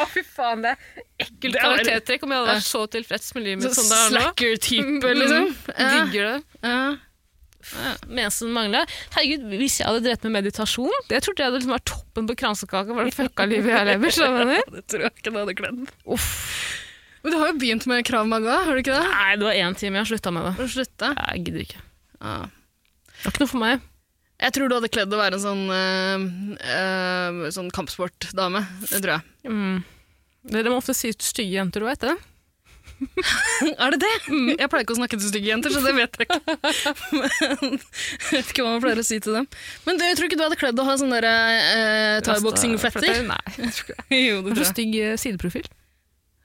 Å, fy faen, det er ekkelt
Det er-
karaktertrekk om jeg hadde vært så tilfreds med livet mitt
sånn
som det er nå.
Slacker-type, liksom. Ja,
Digger det.
ja.
Mensen mangler. Herregud, hvis jeg hadde drevet med meditasjon, det trodde jeg hadde liksom vært toppen på kransekaka for det fucka livet jeg lever, skjønner du? hva jeg mener?
Det tror jeg ikke det hadde kledd.
Uff.
Men du har jo begynt med Krav Maga, har du ikke det?
Nei, det var én time jeg har slutta med det.
Har du slutta?
Jeg gidder ikke.
Ja.
Det var ikke noe for meg.
Jeg tror du hadde kledd å være en sånn, eh, eh, sånn kampsportdame. Det tror jeg.
Mm. Dere må ofte si til stygge jenter, du veit det?
Er det det?
Mm.
Jeg pleier ikke å snakke til stygge jenter, så det vet jeg ikke. Men, jeg vet ikke hva man pleier å si til dem. Men du, jeg tror ikke du hadde kledd å ha sånne uh, thaiboksing-fletter?
Nei. jeg tror ikke det.
Jo,
Kanskje
det tror jeg.
stygg eh, sideprofil.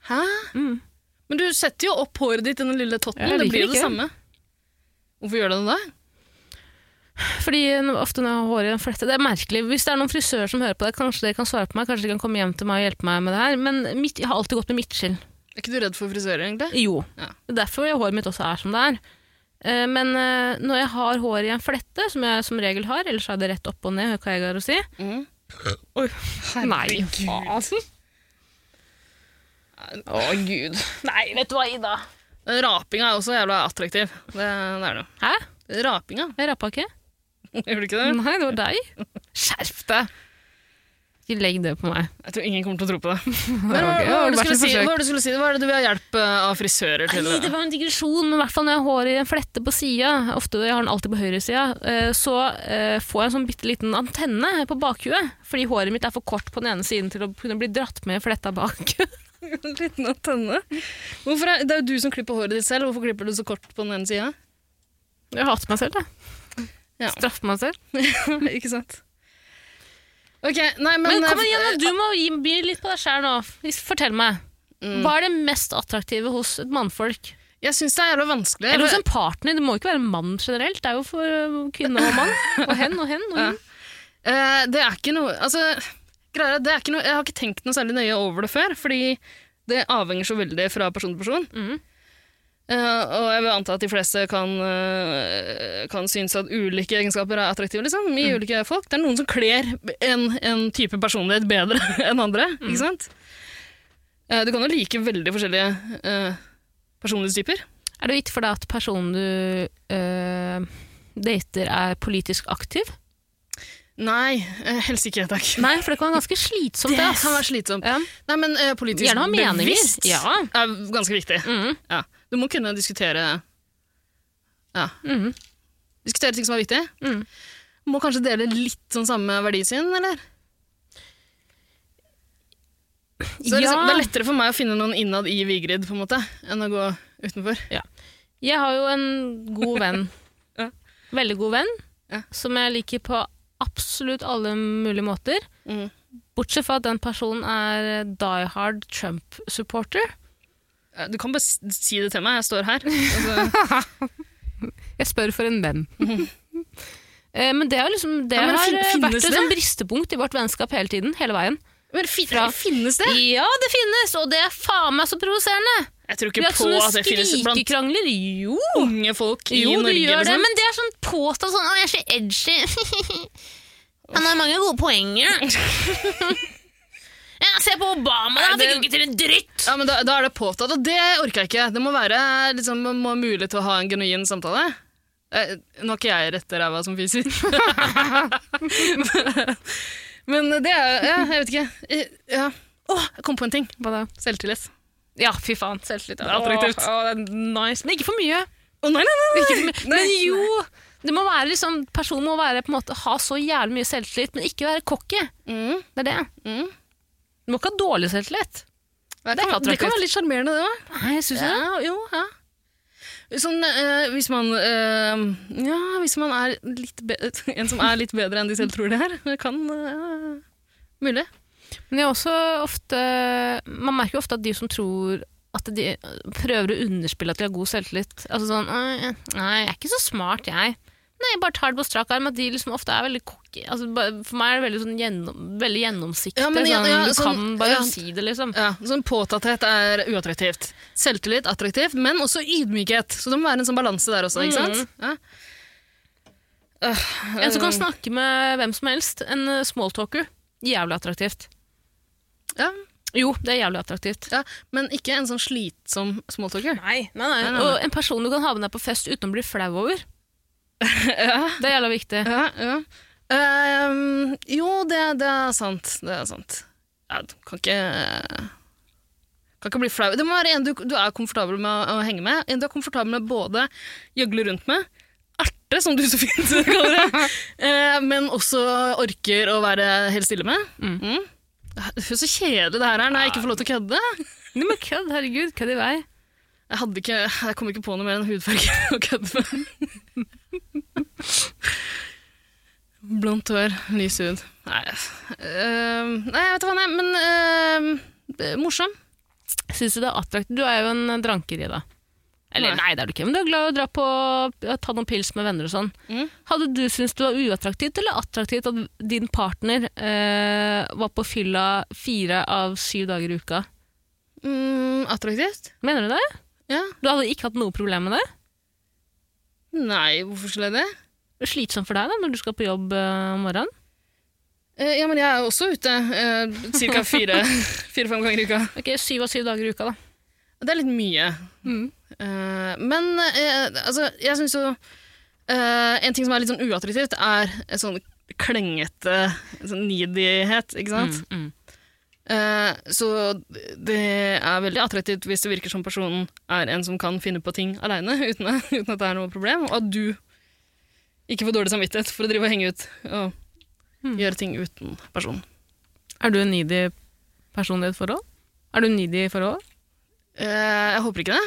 Hæ?
Mm.
Men du setter jo opp håret ditt i den lille totten.
Jeg
Det
liker
blir jo
det
det
ikke.
samme. Hvorfor gjør du det da?
Fordi n- ofte når jeg har håret i en flette Det er merkelig. Hvis det er noen frisører som hører på det, kanskje dere kan svare på meg, kanskje de kan komme hjem til meg og hjelpe meg med det her. Men mitt, jeg har alltid gått med midtskill.
Er ikke du redd for frisører, egentlig?
Jo.
Ja.
Det er Derfor jeg- håret mitt også er som det er. Eh, Men eh, når jeg har håret i en flette, som jeg som regel har, ellers er det rett opp og ned, hør hva jeg har å si
Mm.
Oi, Nei,
Herregud.
faen.
Å, gud.
Nei, vet du hva, Ida?
Den Rapinga er også jævla attraktiv. Det, det er det.
Hæ?
Rapinga,
Jeg rappa ikke?
gjør du ikke det?
Nei, det var deg. Skjerp deg! Ikke legg det på meg.
Jeg tror ingen kommer til å tro på det.
Ok,
Men hva, hva, var det du
vær så
skulle
forsøkt.
si? hva var det du skulle si? Hva er det du vil ha hjelp eh, av frisører til?
Nei, det var en digresjon, men i hvert fall når jeg har håret i en flette på sida, ofte jeg har den alltid på høyresida, eh, så eh, får jeg en sånn bitte liten antenne på bakhuet, fordi håret mitt er for kort på den ene siden til å kunne bli dratt med i fletta bak.
En liten antenne. Hvorfor er, det er jo du som klipper håret ditt selv. Hvorfor klipper du så kort på den ene sida?
Jeg hater meg selv, da.
Ja.
Straffer meg selv.
ikke sant? Ok, nei, men, eh,
Men, eh, kom igjen, da, du må gi by litt på deg sjæl nå. Fortell meg. Hva er det mest attraktive hos et mannfolk?
Jeg syns det er jævla vanskelig.
Eller hos en partner? Det må ikke være en mann generelt. Det er jo for eh, kvinne og mann. Og hen og hen. Og
Ja.
hun.
Eh, det er ikke noe Altså, greia er, det er ikke noe Jeg har ikke tenkt noe særlig nøye over det før, fordi det avhenger så veldig fra person til person.
Mhm.
Eh, og jeg vil anta at de fleste kan, eh, kan synes at ulike egenskaper er attraktive liksom, i
Mm.
ulike folk. Det er noen som kler en, en type personlighet bedre enn andre.
Mm.
ikke sant? Eh, du kan jo like veldig forskjellige eh, personlighetstyper.
Er det viktig for deg at personen du eh, dater, er politisk aktiv?
Nei, eh, helst ikke, takk.
Nei, for det kan være ganske slitsomt.
Det
Det,
kan være
ass.
slitsomt.
Ja.
Nei, men eh, politisk
Gjerne ha meninger.
bevisst
Ja.
er ganske viktig.
Mhm,
Ja. Du må kunne diskutere ja.
mhm.
Diskutere ting som er viktig.
Mm.
Må kanskje dele litt sånn samme verdisyn, eller? Så det, er liksom, det er
Ja,
lettere for meg å finne noen innad i Vigrid, på en måte, enn å gå utenfor.
jeg har jo en god venn.
Ja.
Veldig god venn,
Ja.
som jeg liker på absolutt alle mulige måter.
Mm.
Bortsett fra at den personen er die hard Trump-supporter.
Ja, Du kan bare s- si det til meg, jeg står her. Altså,
Jeg spør for en venn. Eh, Men det, er jo liksom, det
Ja, men
har
fin-
eh,
finnes
vært et
det?
sånn bristepunkt i vårt vennskap hele tiden. Hele veien.
Men fin,
Fra-
finnes det?
Ja, det finnes, og det er faen meg så provoserende!
Jeg
Vi
tror ikke
har
på at
sånne
det finnes blant
skrikekrangler. Jo!
unge folk i
Jo,
Norge.
du gjør det,
liksom.
men det er sånn påstått sånn 'Å, jeg er så edgy'. Han har mange gode poenger. ja, se på Obama, da. Han fikk
Nei, det-
jo ikke til en dritt.
Ja, men da, da er det påtatt, og det orker jeg ikke. Det må være liksom, man må ha mulighet til å ha en genuin samtale. Eh, nå er ikke jeg rette ræva som fiser. men det er ja, Jeg vet ikke. Eh, Ja. Å, jeg kom på en ting. Selvtillit.
Ja, fy faen. Selvtillit.
Det er attraktivt.
Å, å, det er nice. Men ikke for mye.
Å nei, nei, nei!
Ikke for mye. Men jo, det må være liksom, personen må være, på en måte, ha så jævlig mye selvtillit, men ikke være cocky.
Mm,
Det er det.
mm.
Du må ikke ha dårlig selvtillit.
Det,
ikke
kan, det
attraktivt.
kan være litt sjarmerende, det òg.
Nei, jeg syns ja. det.
jo, ja. Sånn, eh, hvis man eh, Ja, hvis man er litt bedre En som er litt bedre enn de selv tror de er, kan eh, Mulig.
Men jeg er også ofte, man merker jo ofte at de som tror at de prøver å underspille at de har god selvtillit. Altså sånn, «Nei, nei, jeg er ikke så smart, jeg. Nei, jeg bare tar det på strak arm. At de liksom ofte er veldig cocky. Altså, bare- for meg er det veldig, sånn gjennom, veldig gjennomsiktig.
Ja, men ja,
sånn,
ja,
du
sånn-
kan bare
ja.
si det, liksom.
Ja, sånn Påtatthet er uattraktivt. Selvtillit attraktivt, men også ydmykhet. Så det må være en sånn balanse der også. ikke sant? Ja.
En som kan snakke med hvem som helst. En eh, smalltalker. Jævlig attraktivt.
Ja,
Jo, det er jævlig attraktivt.
ja. Men ikke en sånn slitsom smalltalker.
Nei, nei, nei.
Nei, nei, nei.
Og en person du kan ha med deg på fest uten å bli flau over.
Ja,
Det er jævla viktig.
ja, ja. Ehm, jo, det, det er sant. Det er sant. Ja, du kan ikke kan ikke bli flau. Det må være en du, du er komfortabel med å, å henge med. En du er komfortabel med både gjøgle rundt med, erte, som du så fint kaller det, eh, men også orker å være helt stille med.
Mm.
Mm. Det er så kjedelig det her er når jeg ikke får lov til å kødde.
Nei, men kødd, herregud, kødd i vei.
Jeg, hadde ikke, jeg kom ikke på noe mer enn hudfarge å kødde med. Blondt hår, lys hud. Nei, eh, nei, jeg vet hva nei, men eh, det er morsom.
Syns du det er attraktivt? Du er jo en dranker i det. Eller
Nei.
nei. det er du ikke, men du er glad i å dra på ja, ta noen pils med venner og sånn.
Mm.
Hadde du syntes det var uattraktivt eller attraktivt at din partner eh, var på fylla fire av syv dager i uka?
Mm, attraktivt.
Mener du det?
Ja.
Du hadde ikke hatt noe problem med det?
Nei, hvorfor skulle jeg det?
Slitsomt for deg da, når du skal på jobb eh, om morgenen?
Eh, ja, men jeg er jo også ute eh, cirka fire- fire-fem ganger i uka.
Ok, syv av syv dager i uka, da.
Det er litt mye.
Mm.
Eh, men eh, altså, jeg syns jo eh, En ting som er litt sånn uattraktivt, er en sånn klengete en sånn needyhet, ikke sant?
Mm, mm.
Eh, så det er veldig attraktivt hvis det virker som personen er en som kan finne på ting aleine uten, at- uten at det er noe problem, og at du ikke får dårlig samvittighet for å drive og henge ut og
Mm.
gjøre ting uten personen.
Er du en needy person i et forhold? Er du needy i forhold?
Eh, jeg håper ikke det.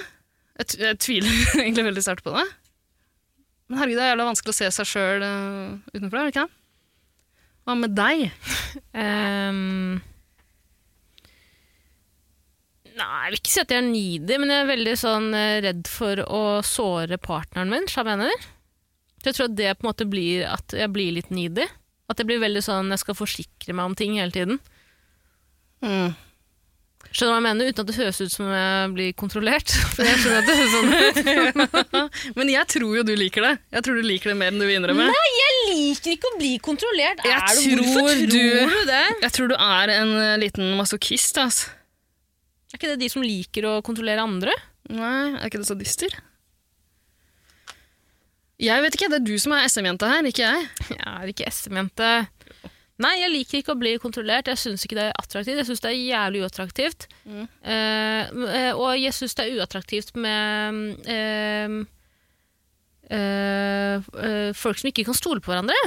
Jeg, t jeg tviler egentlig veldig sterkt på det. Men herregud, det er jævla vanskelig å se seg sjøl utenfra, er det ikke det? Hva med deg?
Ehm, nei, jeg vil ikke si at jeg er needy, men jeg er veldig sånn eh, redd for å såre partneren min, som jeg mener. Så jeg tror at det på en måte blir at jeg blir litt needy. At jeg blir veldig sånn, jeg skal forsikre meg om ting hele tiden.
Hmm.
Skjønner du hva jeg mener? Uten at det høres ut som om jeg blir kontrollert. For jeg skjønner at det høres sånn ut.
Men jeg tror jo du liker det. Jeg tror du liker det mer enn du vil innrømme.
Jeg liker ikke å bli kontrollert.
Jeg
Er du-
tror
hvorfor
du-
tror du det?
Jeg tror du er en eh, liten masochist, ass.
Er ikke det de som liker å kontrollere andre?
Nei, er ikke det så dyster? Jeg vet ikke, det er du som er SM-jenta her, ikke jeg.
Jeg er ikke SM-jente. Nei, jeg liker ikke å bli kontrollert. Jeg syns ikke det er attraktivt. Jeg syns det er jævlig uattraktivt.
Mm.
Eh, eh, og jeg syns det er uattraktivt med eh, eh, eh, folk som ikke kan stole på hverandre.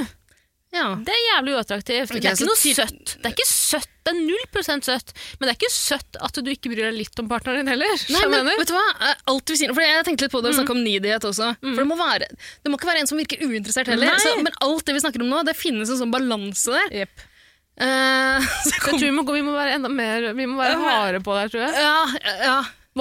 Ja.
Det er jævlig uattraktivt.
Ok,
det er
så
ikke noe
ti-
søtt. Det er ikke søtt. Det er null prosent søtt. Men det er ikke søtt at du ikke bryr deg litt om partneren din heller.
Nei,
skjønner du Mm.
men
hva jeg mener?
vet du hva? Eh, Alt du sier, for Jeg tenkte litt på det og snakket om nidighet også. For det må, være, det må ikke være en som virker uinteressert heller.
Mm. Nei.
Så, men alt det vi snakker om nå, det finnes en sånn balanse der. Eh, så
Så jeg tror vi må, gå- vi må være enda mer Vi må være
Ja, men-
harde på det her, tror jeg.
ja, ja.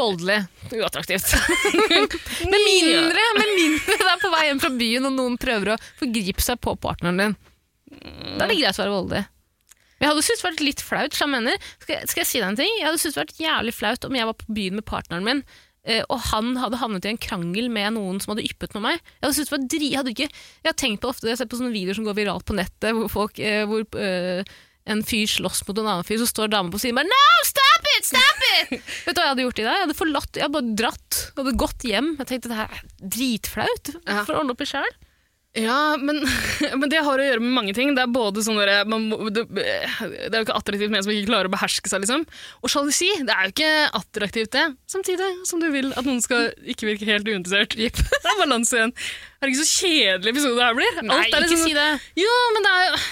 Voldelig. Uattraktivt. med mindre, med mindre det er på vei hjem fra byen og noen prøver å forgripe seg på partneren din. Da er det greit å være voldelig. Men Jeg hadde syntes det vært litt flaut, så jeg mener, skal, jeg- skal jeg si deg en ting? Jeg hadde syntes det vært jævlig flaut om jeg var på byen med partneren min, eh, og han hadde havnet i en krangel med noen som hadde yppet med meg. Jeg hadde syntes det var dri... Jeg hadde ikke... Jeg har tenkt på det ofte, jeg har sett på sånne videoer som går viralt på nettet, hvor, folk, eh, hvor eh, en fyr slåss mot en annen fyr, så står damen på siden og bare No, stop it! Stop it! Vet du hva jeg hadde gjort i dag? Jeg hadde forlatt, jeg hadde bare dratt. Jeg hadde gått hjem. Jeg tenkte det her er dritflaut.
Ja.
For å ordne opp i sjøl.
Ja, men, men det har å gjøre med mange ting. Det er både sånn derre man må- det, det er jo ikke attraktivt med en som ikke klarer å beherske seg, liksom. Og sjalusi, det er jo ikke attraktivt, det. Samtidig som du vil at noen skal ikke virke helt uinteressert. Det er balanse igjen. Er det ikke så kjedelig episode det her blir?
Nei,
er liksom
ikke si det.
Jo, men det er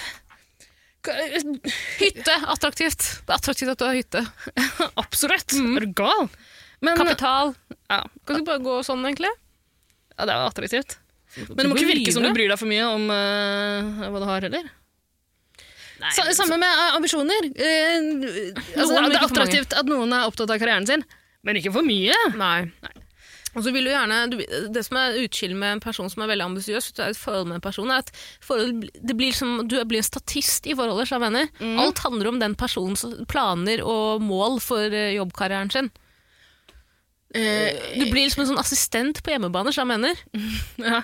jo
Hytte, attraktivt. Det er attraktivt at du har hytte.
Absolutt. Er du gal? Men,
Kapital.
ja,
Mm. Kan du bare gå sånn, egentlig?
ja, det er jo attraktivt. Men det må ikke virke som du bryr deg for mye om eh, hva du har, heller.
Nei,
Sa, samme med eh, ambisjoner. Eh, altså,
Noen, men
det er
ikke for
attraktivt at noen er opptatt av karrieren sin, men ikke for mye.
Nei. Og så vil du gjerne, du, Det som er utskillet med en person som er veldig ambisiøs, hvis du er i et forhold med en person, er at forhold, det blir som, du blir en statist i forholdet. Så jeg mener. Alt handler om den personens planer og mål for eh, jobbkarrieren sin.
Eh,
Du blir liksom en sånn assistent på hjemmebane, så jeg mener.
ja.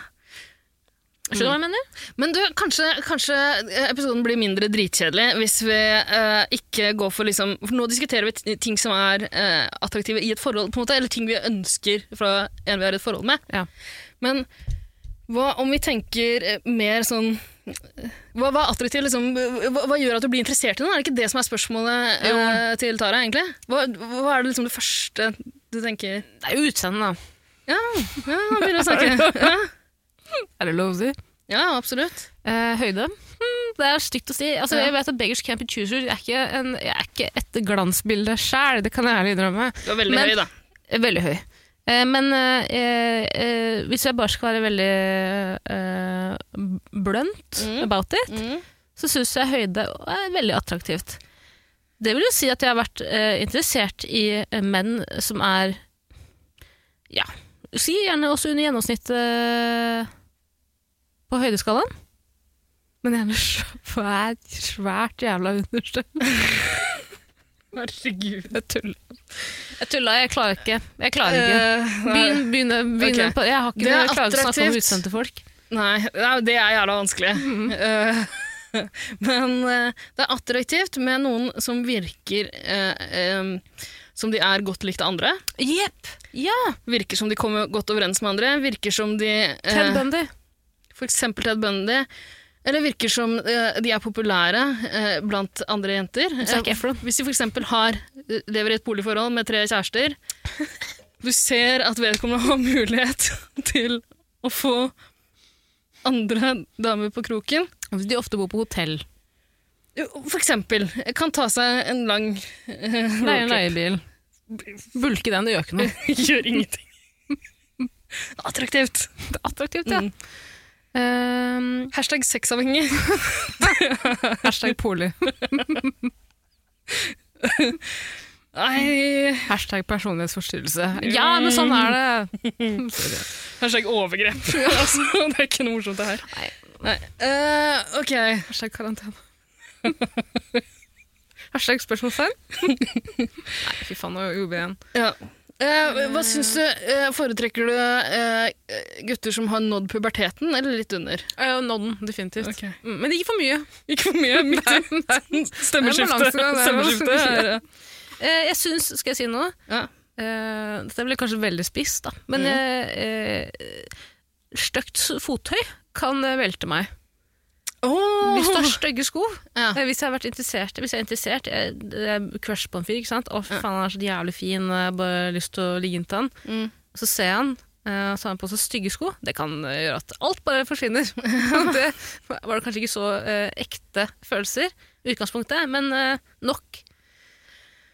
Skjønner du hva jeg mener?
Men du, kanskje, kanskje eh, episoden blir mindre dritkjedelig hvis vi eh, ikke går for liksom For nå diskuterer vi t- ting som er eh, attraktive i et forhold, på en måte, eller ting vi ønsker fra en vi er i et forhold med.
Ja.
Men hva om vi tenker eh, mer sånn hva, hva er attraktivt? Liksom, hva, hva gjør at du blir interessert i noen? Er det ikke det som er spørsmålet
Jo.
eh, til Tara? egentlig? Hva, hva er det, liksom, det første du tenker
Det er jo utseendet, da.
Ja, ja han begynner å snakke. Ja,
Er det lov å si?
ja absolutt.
Eh, høyde? Hmm, det er stygt å si. Altså,
Ja.
Jeg vet at Beggars Camp and Choosers jeg er ikke, en, jeg er ikke et glansbilde sjæl, det kan jeg ærlig innrømme.
Du var veldig
Men-
høy, da.
Eh, Veldig høy. Eh, men eh, eh, hvis jeg bare skal være veldig eh, b- blunt
Mm.
about it,
Mm.
så syns jeg høyde er veldig attraktivt. Det vil jo si at jeg har vært eh, interessert i eh, menn som er Ja, si gjerne også under gjennomsnittet eh, på høydeskalaen. Men gjerne svært, svært jævla understø.
Herregud.
Jeg tuller. Jeg tuller, jeg klarer ikke. Jeg klarer ikke.
Eh, nei.
Begynn, begynn, begynn
Ok.
på Jeg har ikke
Det er
noe klage å snakke om
attraktivt.
utseendet til folk.
Nei, nei, det er jævla vanskelig. Eh, men eh, det er attraktivt med noen som virker eh, em, som de er godt likt av andre.
Jepp! Ja!
Virker som de kommer godt overens med andre. Virker som de
Ted
eh,
Bundy.
For eksempel Ted Bundy. Eller virker som eh, de er populære eh, blant andre jenter.
Zac
Eh,
Efron.
Hvis de for eksempel har, eh, lever i et boligforhold med tre kjærester, du ser at vedkommende har mulighet til å få andre damer på kroken.
altså, De ofte bor på hotell.
For eksempel, kan ta seg en lang eh,
Leier en leiebil. Bulke den og gjør noe.
Gjør ingenting. Attraktivt.
Det er attraktivt, ja.
Mm.
Ehm,
Hashtag sexavhengig.
hashtag poli.
Nei,
Hashtag personlighetsforstyrrelse. Ja, men sånn er det!
hashtag overgrep. altså, det er ikke noe morsomt det her.
Nei.
Nei. Eh, ok.
Hashtag karantene. Hashtag spørsmålstegn. Nei, fy faen, nå gjorde vi igjen.
Ja. Eh, hva syns du? eh, foretrekker du eh, gutter som har nådd puberteten, eller litt under?
Uh, Nodden, definitivt.
Ok.
Mm, Men ikke for mye.
Ikke for mye. Midt i
Det er balanse,
stemmeskiftet.
det er
Stemmeskiftet
balanse.
er, eh,
Eh, jeg syns Skal jeg si noe?
ja.
Eh, dette blir kanskje veldig spisst, da. Men
Mhm.
eh, eh, stygt s- fottøy kan eh, velte meg. Hvis du har stygge sko
Ja.
eh, Hvis jeg har vært interessert Hvis jeg er interessert jeg, jeg Crush på en fyr, ikke sant? Å, fy
Ja.
faen, han er så jævlig fin, jeg har bare lyst til å ligge inntil han.
Mm.
Så ser jeg han, eh, så har han på seg stygge sko. Det kan eh, gjøre at alt bare forsvinner. det var kanskje ikke så eh, ekte følelser i utgangspunktet, men eh, nok.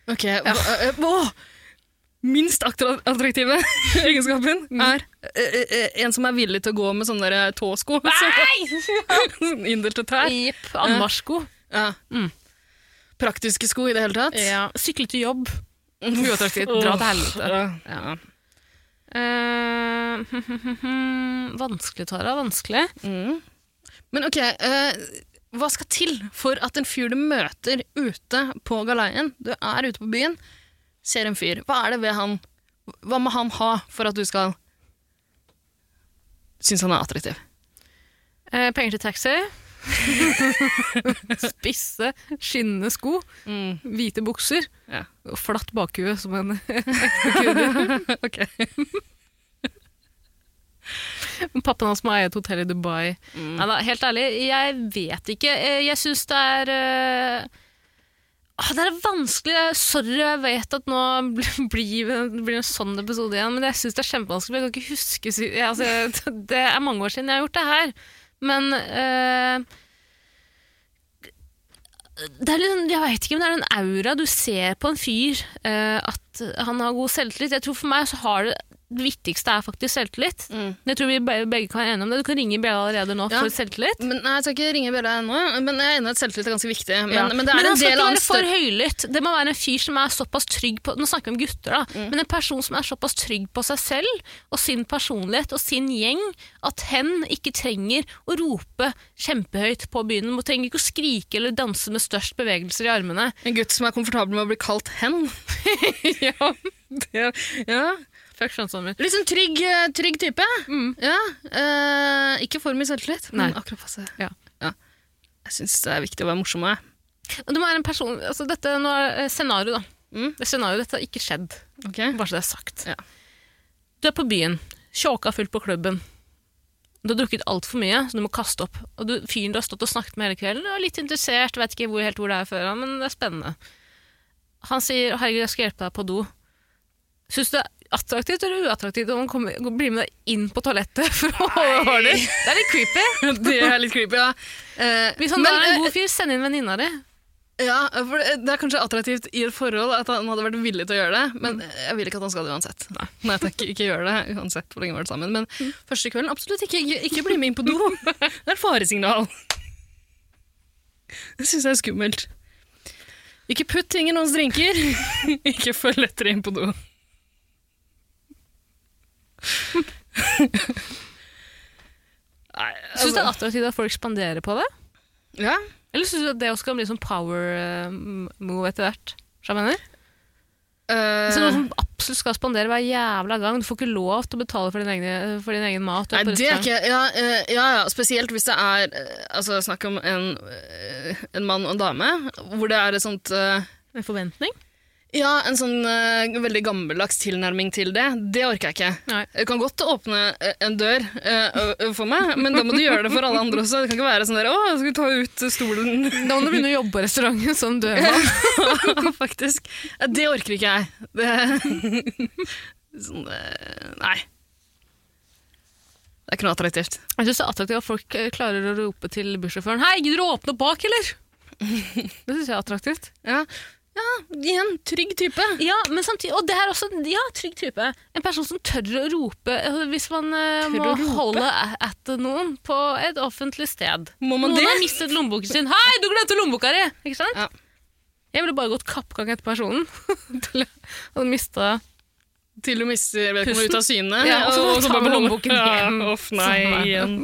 Ok. hva- eh, hva- Minst attra- attraktive egenskapen
Mm.
er eh, eh, en som er villig til å gå med sånne der tåsko.
Ah!
Sånn Innerste tær.
Jepp. Eh, Anmarsjsko.
Ja.
Mm.
Praktiske sko i det hele tatt.
Ja. Sykle til jobb. Uattraktivt. Dra til helvete.
Ja.
Ja. Eh, vanskelig, Tara. Vanskelig.
Men ok, eh, hva skal til for at en fyr du møter ute på galeien, du er ute på byen, ser en fyr. Hva er det ved han Hva må han ha for at du skal synes han er attraktiv?
Eh, penger til taxi. Spisse, skinnende sko, hvite bukser
Ja.
og flatt bakhue som en
Ok.
Pappaen hans må eie et hotell i Dubai.
Mm.
Nei da, helt ærlig, jeg vet ikke. Eh, Jeg syns det er eh, ah, Det er vanskelig. Det er- Sorry, jeg vet at nå blir- blir det blir en sånn episode igjen, men jeg syns det er kjempevanskelig. for Jeg kan ikke huske si- jeg, altså, Det er mange år siden jeg har gjort det her. Men eh, det er litt, sånn- jeg vet ikke, men det er den aura du ser på en fyr, eh, at han har god selvtillit. Jeg tror For meg så har det, det viktigste er faktisk selvtillit.
Mm.
Jeg tror vi be- begge kan være enige om det. Du kan ringe Bjella allerede nå
Ja.
for selvtillit.
Men nei, Jeg skal ikke ringe bjella ennå, men jeg er enig i at selvtillit er ganske viktig. Men,
Ja.
men det er
han
en
skal
del
ikke
av en
være for
større
høylytt. Det må være en fyr som er såpass trygg på Nå snakker vi om gutter, da.
Mm.
Men en person som er såpass trygg på seg selv og sin personlighet og sin gjeng at hen ikke trenger å rope kjempehøyt på byen. Hun trenger ikke å skrike eller danse med størst bevegelser i armene.
En gutt som er komfortabel med å bli kalt hen.
ja,
Ja.
Fuck skjønnsommer.
Litt sånn trygg, eh, trygg type.
Mm.
Ja. Eh, ikke for mye selvtillit, men
Nei.
akkurat passe.
Ja.
Jeg syns det er viktig å være morsom. jeg.
Og Det må være en person altså Dette nå er eh, scenario, da.
Mm.
Det scenario, dette har ikke skjedd,
Ok?
bare så det er sagt.
Ja.
Du er på byen, tjåka fullt på klubben. Du har drukket altfor mye, så du må kaste opp. Og du, fyren du har stått og snakket med hele kvelden, er litt interessert, vet ikke hvor, helt hvor det er før, men det er spennende. Han sier 'herregud, jeg skal hjelpe deg på do'. Syns du det er attraktivt eller uattraktivt om han kommer, blir med deg inn på toalettet for å holde håret ditt? Det er litt creepy.
Det er litt creepy, ja. Eh,
Hvis han
men,
sånn er
eh,
en god fyr, send inn venninna di.
Ja, for det det er kanskje attraktivt i et forhold at han hadde vært villig til å gjøre det, men
Mm.
jeg vil ikke at han skal det uansett. Nei, takk, ikke gjør det uansett hvor lenge vi har vært sammen. Men
Mm.
første kvelden, absolutt ikke, ikke- ikke bli med inn på do. Det er et faresignal. Det syns jeg er skummelt. Ikke putt ting i noens drinker. Ikke følg etter inn på do. Nei,
Syns du det
altså,
er attraktivt at folk spanderer på det?
ja.
Eller syns du at det også kan bli sånn power eh, move etter hvert? Skjønner du hva jeg mener?
eh,
Hvis det er noen som absolutt skal spandere hver jævla gang, du får ikke lov til å betale for din egen, for din egen mat.
Nei, det er ikke ja, eh, ja, ja, spesielt hvis det er eh, altså, Snakk om en, eh, en mann og en dame, hvor det er et sånt eh,
En forventning?
Ja, en sånn eh, veldig gammeldags tilnærming til det. Det orker jeg ikke.
Nei.
Jeg kan godt åpne eh, en dør eh, ø- ø- for meg, men da må du gjøre det for alle andre også. Det kan ikke være sånn der Å, skal vi ta ut stolen?
Da må du begynne å jobbe på restauranten som dørmann.
Faktisk. Ja, Det orker ikke jeg. Det, sånn, eh, nei. Det er ikke noe attraktivt.
Jeg syns det er attraktivt at folk eh, klarer å rope til bussjåføren 'Hei, gidder du å åpne bak, eller?' Det syns jeg er attraktivt.
Ja. ja, igjen, trygg type.
Ja, men samtidig, og det er også ja, trygg type. En person som tør å rope altså, hvis man eh,
Tør
må
å rope?
holde a- at noen på et offentlig sted.
Må man
noen
det?
har mistet lommeboken sin. 'Hei, du glemte lommeboka di!' Ikke sant?
Ja.
Jeg ville bare gått kappgang etter personen. til jeg hadde mista
Til du mister vedkommende ut av syne.
Ja, og så må du ta med
bare-
lommeboken hjem.
Ja, Uff, nei,
Sånn, nei.
igjen.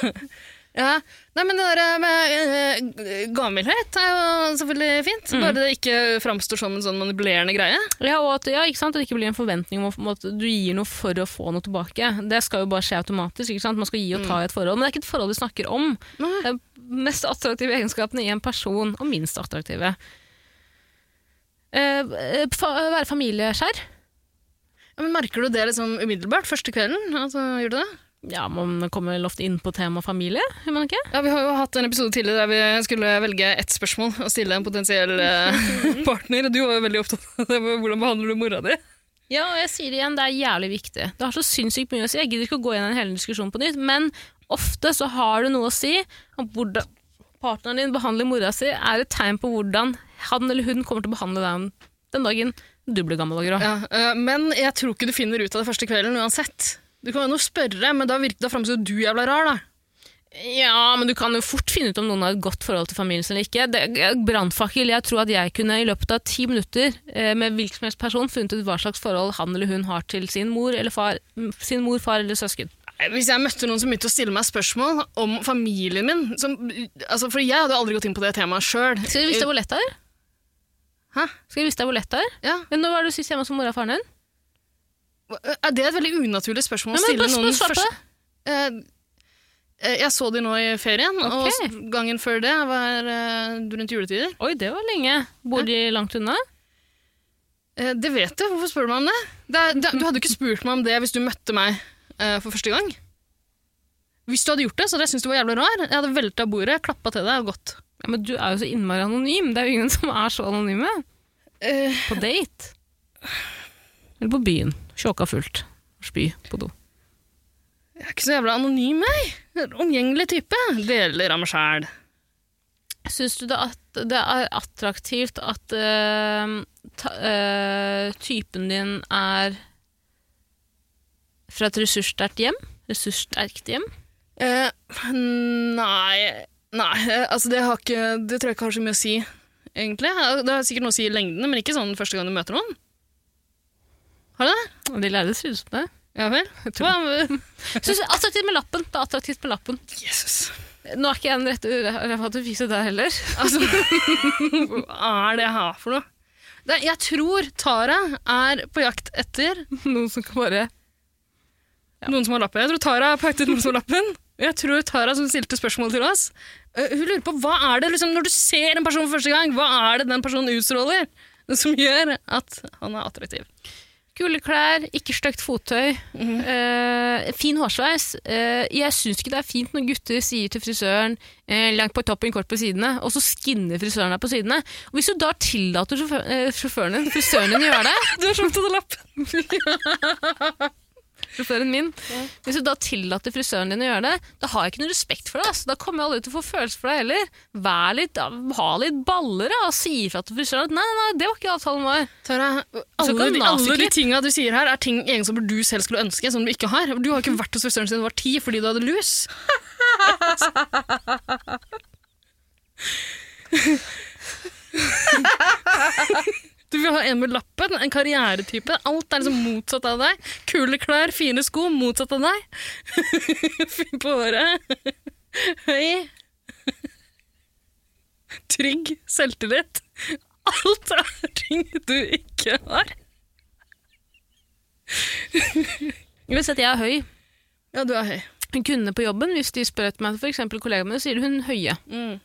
ja. Nei, men det der eh, med eh, gammelhet er jo selvfølgelig fint. Bare det ikke framstår som en sånn manipulerende greie.
ja, og at, ja, ikke sant? At det ikke blir en forventning om å- om at du gir noe for å få noe tilbake. Det skal jo bare skje automatisk. Ikke sant? Man skal gi og ta i et forhold. Men det er ikke et forhold vi snakker om.
Nei.
Det er mest attraktive egenskapene i en person, og minst attraktive. Eh, eh, fa være familieskjær?
Ja, men merker du det liksom umiddelbart første kvelden? Altså, gjør du det?
Ja, man kommer vel ofte inn på tema familie, gjør man ikke?
Ja, Vi har jo hatt en episode tidligere der vi skulle velge ett spørsmål og stille en potensiell eh, partner. og Du var jo veldig opptatt av det, hvordan behandler du mora di?
Ja, og jeg sier det igjen, det er jævlig viktig. Det har så sinnssykt mye å si. Jeg gidder ikke å gå gjennom hele diskusjonen på nytt, men ofte så har det noe å si om hvordan partneren din behandler mora si, er et tegn på hvordan han eller hun kommer til å behandle deg den dagen du blir gammel og grå.
Ja, øh, men jeg tror ikke du finner ut av det første kvelden uansett. Du kan jo nå spørre, men da, virker, da fremstår jo du jævla rar, da.
Ja, men du kan jo fort finne ut om noen har et godt forhold til familien sin eller ikke. Det- Brannfakkel, jeg tror at jeg kunne i løpet av ti minutter eh, med hvilken som helst person funnet ut hva slags forhold han eller hun har til sin mor eller far, m, sin mor, far eller søsken.
Hvis jeg møtte noen som begynte å stille meg spørsmål om familien min som, altså, For jeg hadde jo aldri gått inn på det temaet sjøl.
Skal du vise deg hvor lett det er?
Hæ?
Skal du vise deg hvor lett det er?
Ja.
Men Når var det du sist hjemme hos mora og faren din?
Er det et veldig unaturlig spørsmål å
Ja, men
stille
bare-
noen
bare svar på det.
Eh, Jeg så de nå i ferien,
Ok.
og gangen før det var eh, rundt juletider.
Oi, det var lenge. Bor de langt unna?
Eh, Det vet jeg, hvorfor spør du meg om det? det, er- det du hadde ikke spurt meg om det hvis du møtte meg eh, for første gang. Hvis du hadde gjort det, så hadde jeg syntes du var jævlig rar. Jeg hadde velta bordet, klappa til deg og gått.
Ja, men du er jo så innmari anonym. Det er jo ingen som er så anonyme.
Eh,
På date. Eller på byen. Tjåka fullt. Spy på do.
Jeg er ikke så jævla anonym, jeg. Jeg er en Omgjengelig type. Deler av meg sjæl.
Syns du det, at det er attraktivt at eh, ta, eh, typen din er fra et ressurssterkt hjem? Ressurssterkt hjem?
Eh, nei Nei, eh, altså det, har ikke, det tror jeg ikke har så mye å si, egentlig. Eh, Det har sikkert noe å si i lengden, men ikke sånn første gang du møter noen. Har du det?
De lærde synes det.
Ja vel?
Hva, synes, attraktivt med lappen. Det er attraktivt med lappen.
Jesus.
Nå er ikke jeg den rette urefatofiset der heller.
Altså, hva er det jeg har for noe? Det, jeg tror Tara er på jakt etter
Noen som kan bare
noen som har lappen. Jeg tror Tara er på jakt etter noen som har lappen. Og jeg tror Tara som stilte spørsmål til oss, eh, hun lurer på hva er det liksom, når du ser en person for første gang, hva er det den personen utstråler som gjør at han er attraktiv?
Kule klær, ikke stygt fottøy,
Mhm.
eh, fin hårsveis. Eh, jeg syns ikke det er fint når gutter sier til frisøren eh, langt på toppen, kort på sidene, og så skinner frisøren deg på sidene. Og hvis du da tillater sjåfør, eh, sjåføren din, frisøren din gjør det
Du har slått av lappen.
Sjåføren min. Hvis du da tillater frisøren din å gjøre det, da har jeg ikke noe respekt for deg. ass. Da kommer jeg aldri til å få følelser for deg heller. Vær litt, ha litt baller da, og si ifra til frisøren at nei, nei, nei, det var ikke avtalen vår.
Tara, alle,
kan
de, alle
naziklipp.
de tinga du sier her, er ting egenskaper du selv skulle ønske, som du ikke har. Du har ikke vært hos frisøren siden du var ti fordi du hadde lus. Du vil ha en med lappen, en karrieretype. Alt er liksom motsatt av deg. Kule klær, fine sko, motsatt av deg. Fin på håret. Høy. Trygg. Selvtillit. Alt er ting du ikke har.
Uansett, jeg er høy.
Ja, du er høy.
Kundene på jobben, hvis de spør etter meg, for eksempel kollegaene mine, sier hun høye.
Mm.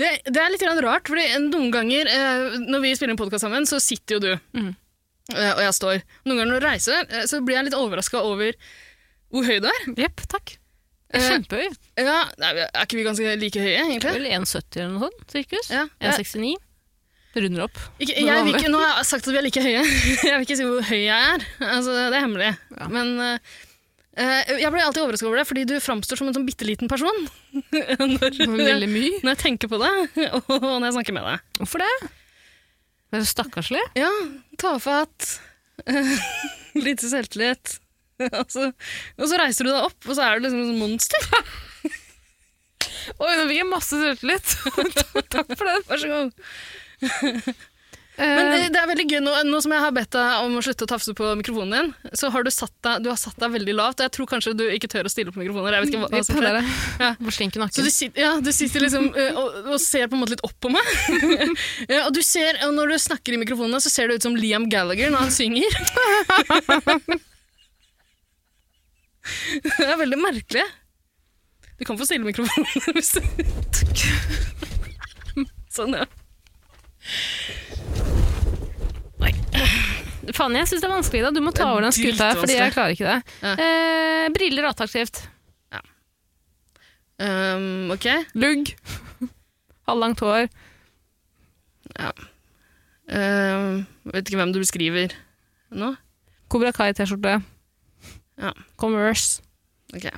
Det, det er litt grann rart, fordi noen ganger eh, når vi spiller en podkast sammen, så sitter jo du.
Mhm.
Eh, og jeg står. Noen ganger når du reiser, eh, så blir jeg litt overraska over hvor høy du er.
Jepp, takk. Jeg er
Eh,
kjempehøy.
Ja, nei, er ikke vi ganske like høye, egentlig?
Vel 1,70 eller noe sånt, sirkus.
Ja.
1,69. Runder opp.
Ikke,
Nå
jeg
var
vil
vi-
ikke, nå har jeg sagt at vi er like høye. Jeg vil ikke si hvor høy jeg er. Altså, det er hemmelig.
Ja.
Men eh, eh, jeg blir alltid overraska over det, fordi du framstår som en sånn bitte liten person når,
Veldig mye.
når jeg tenker på deg og når jeg snakker med deg.
Hvorfor det? Det er så stakkarslig.
Ja, tafatt. eh, Lite selvtillit. Og så, og så reiser du deg opp, og så er du liksom et monster.
Oi, nå fikk jeg masse selvtillit. takk for den.
Vær så god. Men eh, det er veldig gøy, nå, nå som jeg har bedt deg om å slutte å tafse på mikrofonen din, så har du satt deg, du har satt deg veldig lavt, og jeg tror kanskje du ikke tør å stille på mikrofoner. Jeg vet ikke hva, hva som skjer. Ja.
Hvor slink i
Så
nakken.
du sitter, ja, du sitter liksom eh, og, og ser på en måte litt opp på meg. Ja, og du ser, og når du snakker i mikrofonene, så ser du ut som Liam Gallagher når han synger. Det er veldig merkelig. Du kan få stille mikrofonen hvis du Sånn, ja.
Faen, jeg syns det er vanskelig. da. Du må ta over den skuta, her, fordi jeg klarer ikke det.
Ja.
Eh, briller er attraktivt.
Um, ok.
Lugg. Halvlangt hår.
Um, vet ikke hvem du beskriver nå.
Cobra Kai-T-skjorte.
Ja.
Converse.
Ok.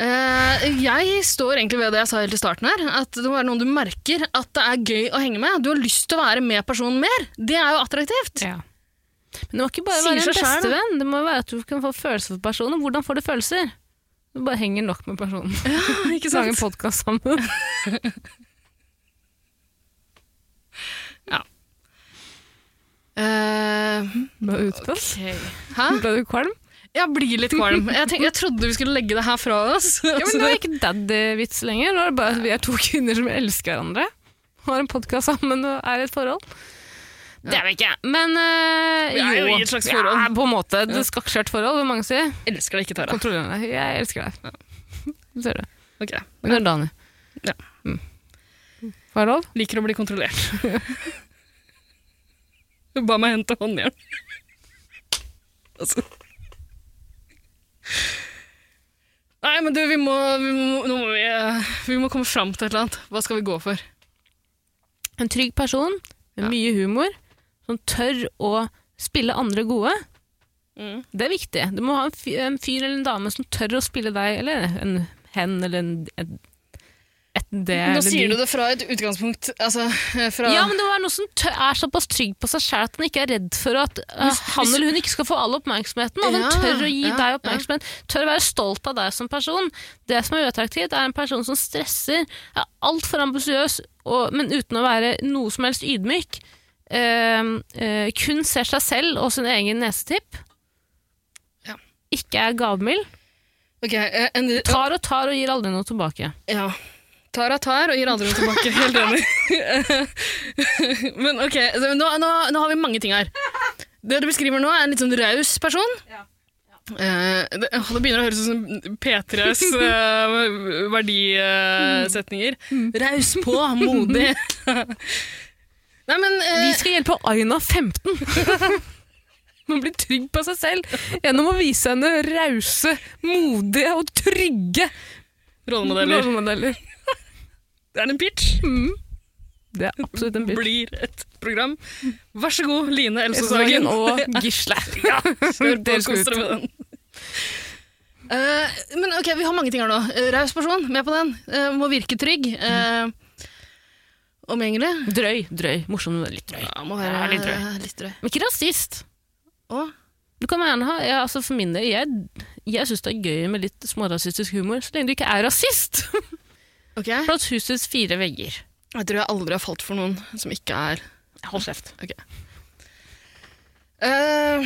Eh, jeg står egentlig ved det jeg sa helt i starten her, at det må være noen du merker at det er gøy å henge med. Du har lyst til å være med personen mer. Det er jo attraktivt.
Ja. Men det må ikke bare
Sier
være en
seg selv, da.
bestevenn. Det må være at du kan få følelser for personen. Hvordan får du følelser? Du bare henger nok med personen. Sånn.
ikke
Lage en podkast sammen.
Eh,
Ble du utblåst?
ok. Hæ?
Ble du kvalm?
Eh, Jeg blir litt kvalm. Jeg, tenk, jeg trodde vi skulle legge det her fra oss.
Ja, men Nå er det ikke daddy-vits lenger. Nå er det bare at vi er to kvinner som elsker hverandre. Har en podkast sammen og er i et forhold. Det er vi ikke. Men øh,
Vi er jo i et slags forhold.
Ja, på en måte. Det skakkskjørt forhold, vil mange si.
Jeg elsker deg ikke, Tara.
Kontrollerende. Jeg elsker deg. Det ser du.
Ok.
Det kan Dani.
Ja.
Mm. Får jeg lov?
Liker å bli kontrollert. Du ba meg hente håndjern. Altså. Nei, men du, vi må, vi må, nå må vi, eh, vi må komme fram til et eller annet. Hva skal vi gå for?
En trygg person med
Ja.
mye humor, som tør å spille andre gode.
Mm.
Det er viktig. Du må ha en fyr, en fyr eller en dame som tør å spille deg, eller en hen, eller en, en et det,
Nå sier du det fra et utgangspunkt altså, eh, fra,
Ja, men det må være noe som tø- er såpass trygg på seg sjæl at den ikke er redd for at uh, han
hvis-
eller hun ikke skal få all oppmerksomheten. Og den
Ja,
tør å gi
ja,
deg oppmerksomhet. Tør å være stolt av deg som person. Det som er uattraktivt, er en person som stresser, er altfor ambisiøs, og- men uten å være noe som helst ydmyk. Ehm, eh, kun ser seg selv og sin egen nesetipp.
Ja.
Ikke er gavmild.
Ok, eh, en,
Tar og tar og gir aldri noe tilbake.
Ja. Tara tar og gir andre noe tilbake. Helt enig. Men ok, så nå, nå, nå har vi mange ting her. Det du beskriver nå, er en litt sånn raus person. Eh, det, åh, det begynner å høres ut som P3s eh, verdisetninger. Raus på, modig. Nei, men eh,
Vi skal hjelpe Aina 15. Man blir trygg på seg selv gjennom å vise henne rause, modige og trygge
rollemodeller.
rollemodeller. Mm.
Det er en pitch.
Det er absolutt en bitch.
Blir et program. Vær så god, Line Elsesagen.
Elsesagen og Gisle. Ja,
Hør på og kos dere med den. Eh, men ok, vi har mange ting her nå. Eh, Raus person, med på den. Eh, må virke trygg. eh, omgjengelig.
Drøy, drøy. Morsom, men litt drøy.
Ja, må
Ja, litt drøy.
eh, litt drøy.
Men ikke rasist.
Og,
Du kan gjerne ha, ja, altså For min del, jeg, jeg syns det er gøy med litt smårasistisk humor, så lenge du ikke er rasist.
ok,
Blant husets fire vegger.
jeg tror jeg aldri har falt for noen som ikke er
Hold kjeft.
Eh,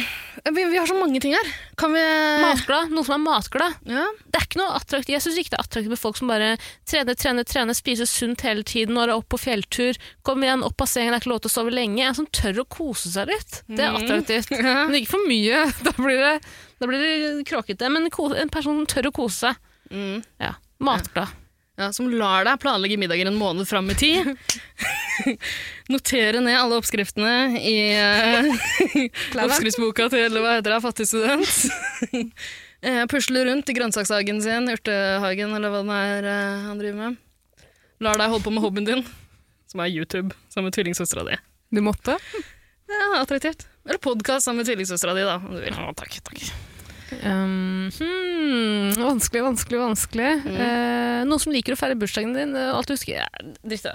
vi, vi har så mange ting her. Kan vi
Eh. Matglad. Noen som er matglad.
ja?
det er ikke noe attraktivt. Jeg syns ikke det er attraktivt med folk som bare trener, trener, trener, spiser sunt hele tiden, når de er oppe på fjelltur, kom igjen, opp av sengen, det er ikke lov til å sove lenge. En som tør å kose seg litt. Det er
Mhm.
attraktivt.
Ja.
Men ikke for mye. Da blir det, da blir det kråkete. Men ko- en person som tør å kose seg.
Mm.
Ja. Matglad.
Ja, som lar deg planlegge middager en måned fram i tid. Notere ned alle oppskriftene i eh, oppskriftsboka til hva heter det, fattig student. Eh, Pusle rundt i grønnsakshagen sin, urtehagen eller hva det er eh, han driver med. Lar deg holde på med hobbyen din, som er YouTube, sammen med tvillingsøstera di.
Du måtte?
Ja, attraktivt. Eller podkast sammen med tvillingsøstera di, da, om du vil. Ja, takk, takk.
Um, hmm, vanskelig, vanskelig, vanskelig. Eh, noen som liker å feire bursdagen din, eh, alt du husker. Ja, Dritt i det.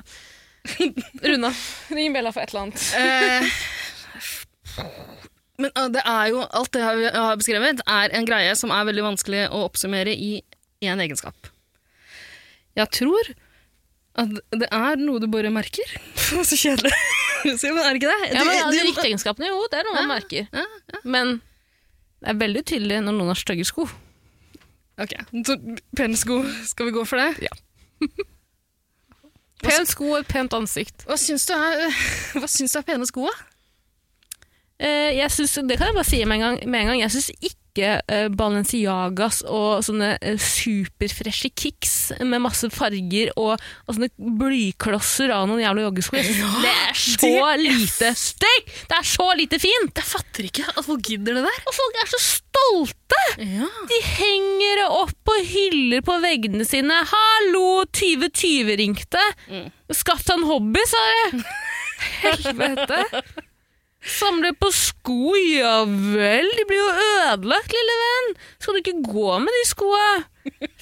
Runa, ring Bella for et eller annet.
Eh, Men eh, det er jo, alt det her vi har beskrevet, er en greie som er veldig vanskelig å oppsummere i én egenskap. Jeg tror at det er noe du bare merker. Det var så kjedelig. Så, men er det ikke det?
Ja, men ja,
Du-
De
du-
riktige egenskapene, jo, det er noe man merker.
ja,
Men det er veldig tydelig når noen har stygge sko.
Ok, så pensko, skal vi gå for det?
Pent sko og et pent ansikt.
Hva syns du er, hva syns du er pene sko, da?
Eh, jeg synes, det kan jeg bare si med en gang. Med en gang jeg syns ikke eh, Balenciagas og sånne eh, superfreshe kicks med masse farger og, og sånne blyklosser av noen jævla joggesko Jeg synes Det er så lite stygt! Det er så lite fint!
Jeg fatter ikke at folk gidder det der.
Og folk er så stolte!
Ja.
De henger det opp og hyller på veggene sine. 'Hallo, 2020 ringte'.
Mm.
'Skaff deg en hobby', sa de. Helvete. Samle på sko, ja vel. De blir jo ødelagt, lille venn. Skal du ikke gå med de skoa?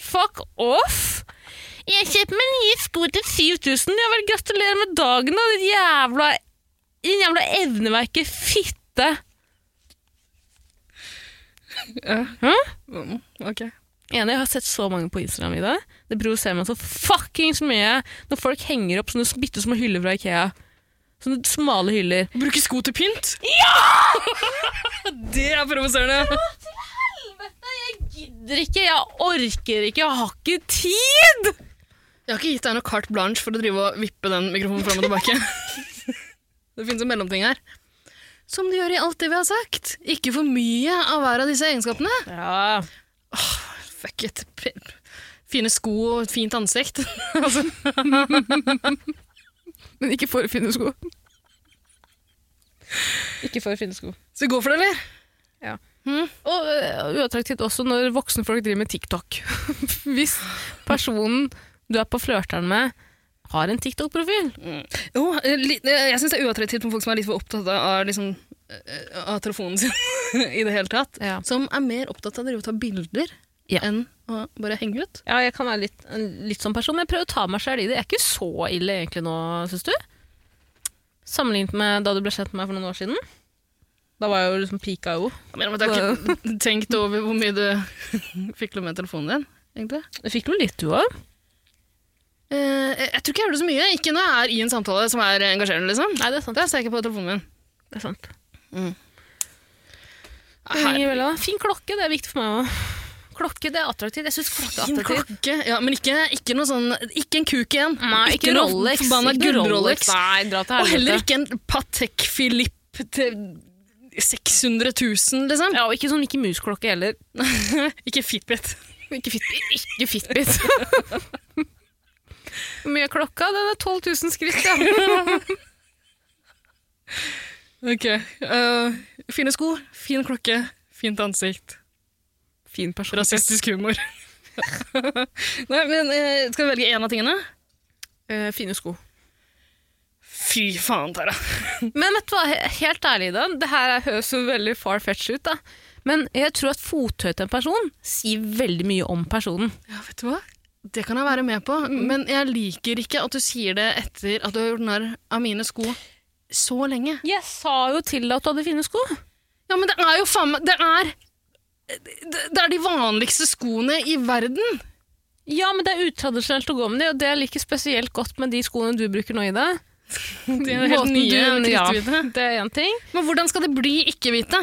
Fuck off. Jeg kjøper meg nye sko til 7000. Ja vel, gratulerer med dagen, da, ditt jævla Din jævla evneverket fitte. Hæ?
Mm, Ok.
Enig, jeg har sett så mange på Instagram i det. Det provoserer meg så fuckings mye når folk henger opp sånne bitte små hyller fra Ikea. Sånne smale hyller.
Bruke sko til pynt? Ja! det er provoserende.
Helvete!
gidder ikke, jeg orker ikke, jeg har ikke tid!
Jeg har ikke gitt deg noe carte blanche for å drive og vippe den mikrofonen fram og tilbake. det finnes en mellomting her. Som du gjør i alt det vi har sagt. Ikke for mye av hver av disse egenskapene.
Ja,
Fuck it. P- Fine sko og et fint ansikt. altså,
Men ikke for fine sko.
ikke for finnesko.
skal vi gå for det, eller?
Og øh, uattraktivt også når voksenfolk driver med TikTok. Hvis personen du er på flørteren med, har en TikTok-profil.
Jo, eh, li- eh, jeg syns det er uattraktivt med folk som er litt for opptatt av, liksom, eh, av telefonen sin i det hele tatt.
Ja.
Som er mer opptatt av å drive og ta bilder
Ja.
enn å bare henge ut.
Ja, jeg kan være litt, en litt sånn person, men jeg prøver å ta meg selv i det. Jeg er ikke så ille egentlig nå, syns du? Sammenlignet med da du ble kjent med meg for noen år siden. Da var jeg jo liksom pika jo.
Jeg mener, men jeg har ikke tenkt over hvor mye du fikler med telefonen din. egentlig.
Jeg fikk jo litt, du òg.
Eh, jeg, jeg tror ikke jeg gjør det så mye. Ikke når jeg er i en samtale som er engasjerende. liksom.
Nei, det er sant.
Da ser jeg ikke på telefonen min.
Det er sant. Det
Her.
henger Mm. vel av. Fin klokke, det er viktig for meg òg. Klokke, det er attraktivt. Jeg syns klokke er
Fin
attraktivt.
klokke. Ja, men ikke, ikke noe sånn Ikke en kuk igjen.
Nei, ikke,
noe
Rolex.
Forbanna
ikke
gull-Rolex.
Nei, dra til
Og
helvete.
heller ikke en Patek Philippe til 600 000, liksom.
Ja, og ikke sånn Mickey Mouse-klokke heller.
Ikke Fitbit.
Ikke, fit, ikke Fitbit. Hvor mye er klokka? Den er 12 000 skritt, ja.
Ok. eh, fine sko, fin klokke, fint ansikt.
Fin person.
Rasistisk humor. Nei, men eh, Skal vi velge én av tingene?
Eh, fine sko.
Fy faen, Tara.
Men vet du hva, he- helt ærlig, da. Det her er- høres jo veldig far-fetched ut, da. Men jeg tror at fottøy til en person sier veldig mye om personen.
Ja, vet du hva? Det kan jeg være med på, men jeg liker ikke at du sier det etter at du har gjort narr av mine sko så lenge.
Jeg sa jo til deg at du hadde fine sko.
Ja, men det er jo faen meg Det er det det er de vanligste skoene i verden.
Ja, men det er utradisjonelt å gå med de, og det jeg liker spesielt godt med de skoene du bruker nå, Ida.
Det
er helt nye,
ja.
kritthvite. Det er én ting.
Men hvordan skal det bli ikke-hvite?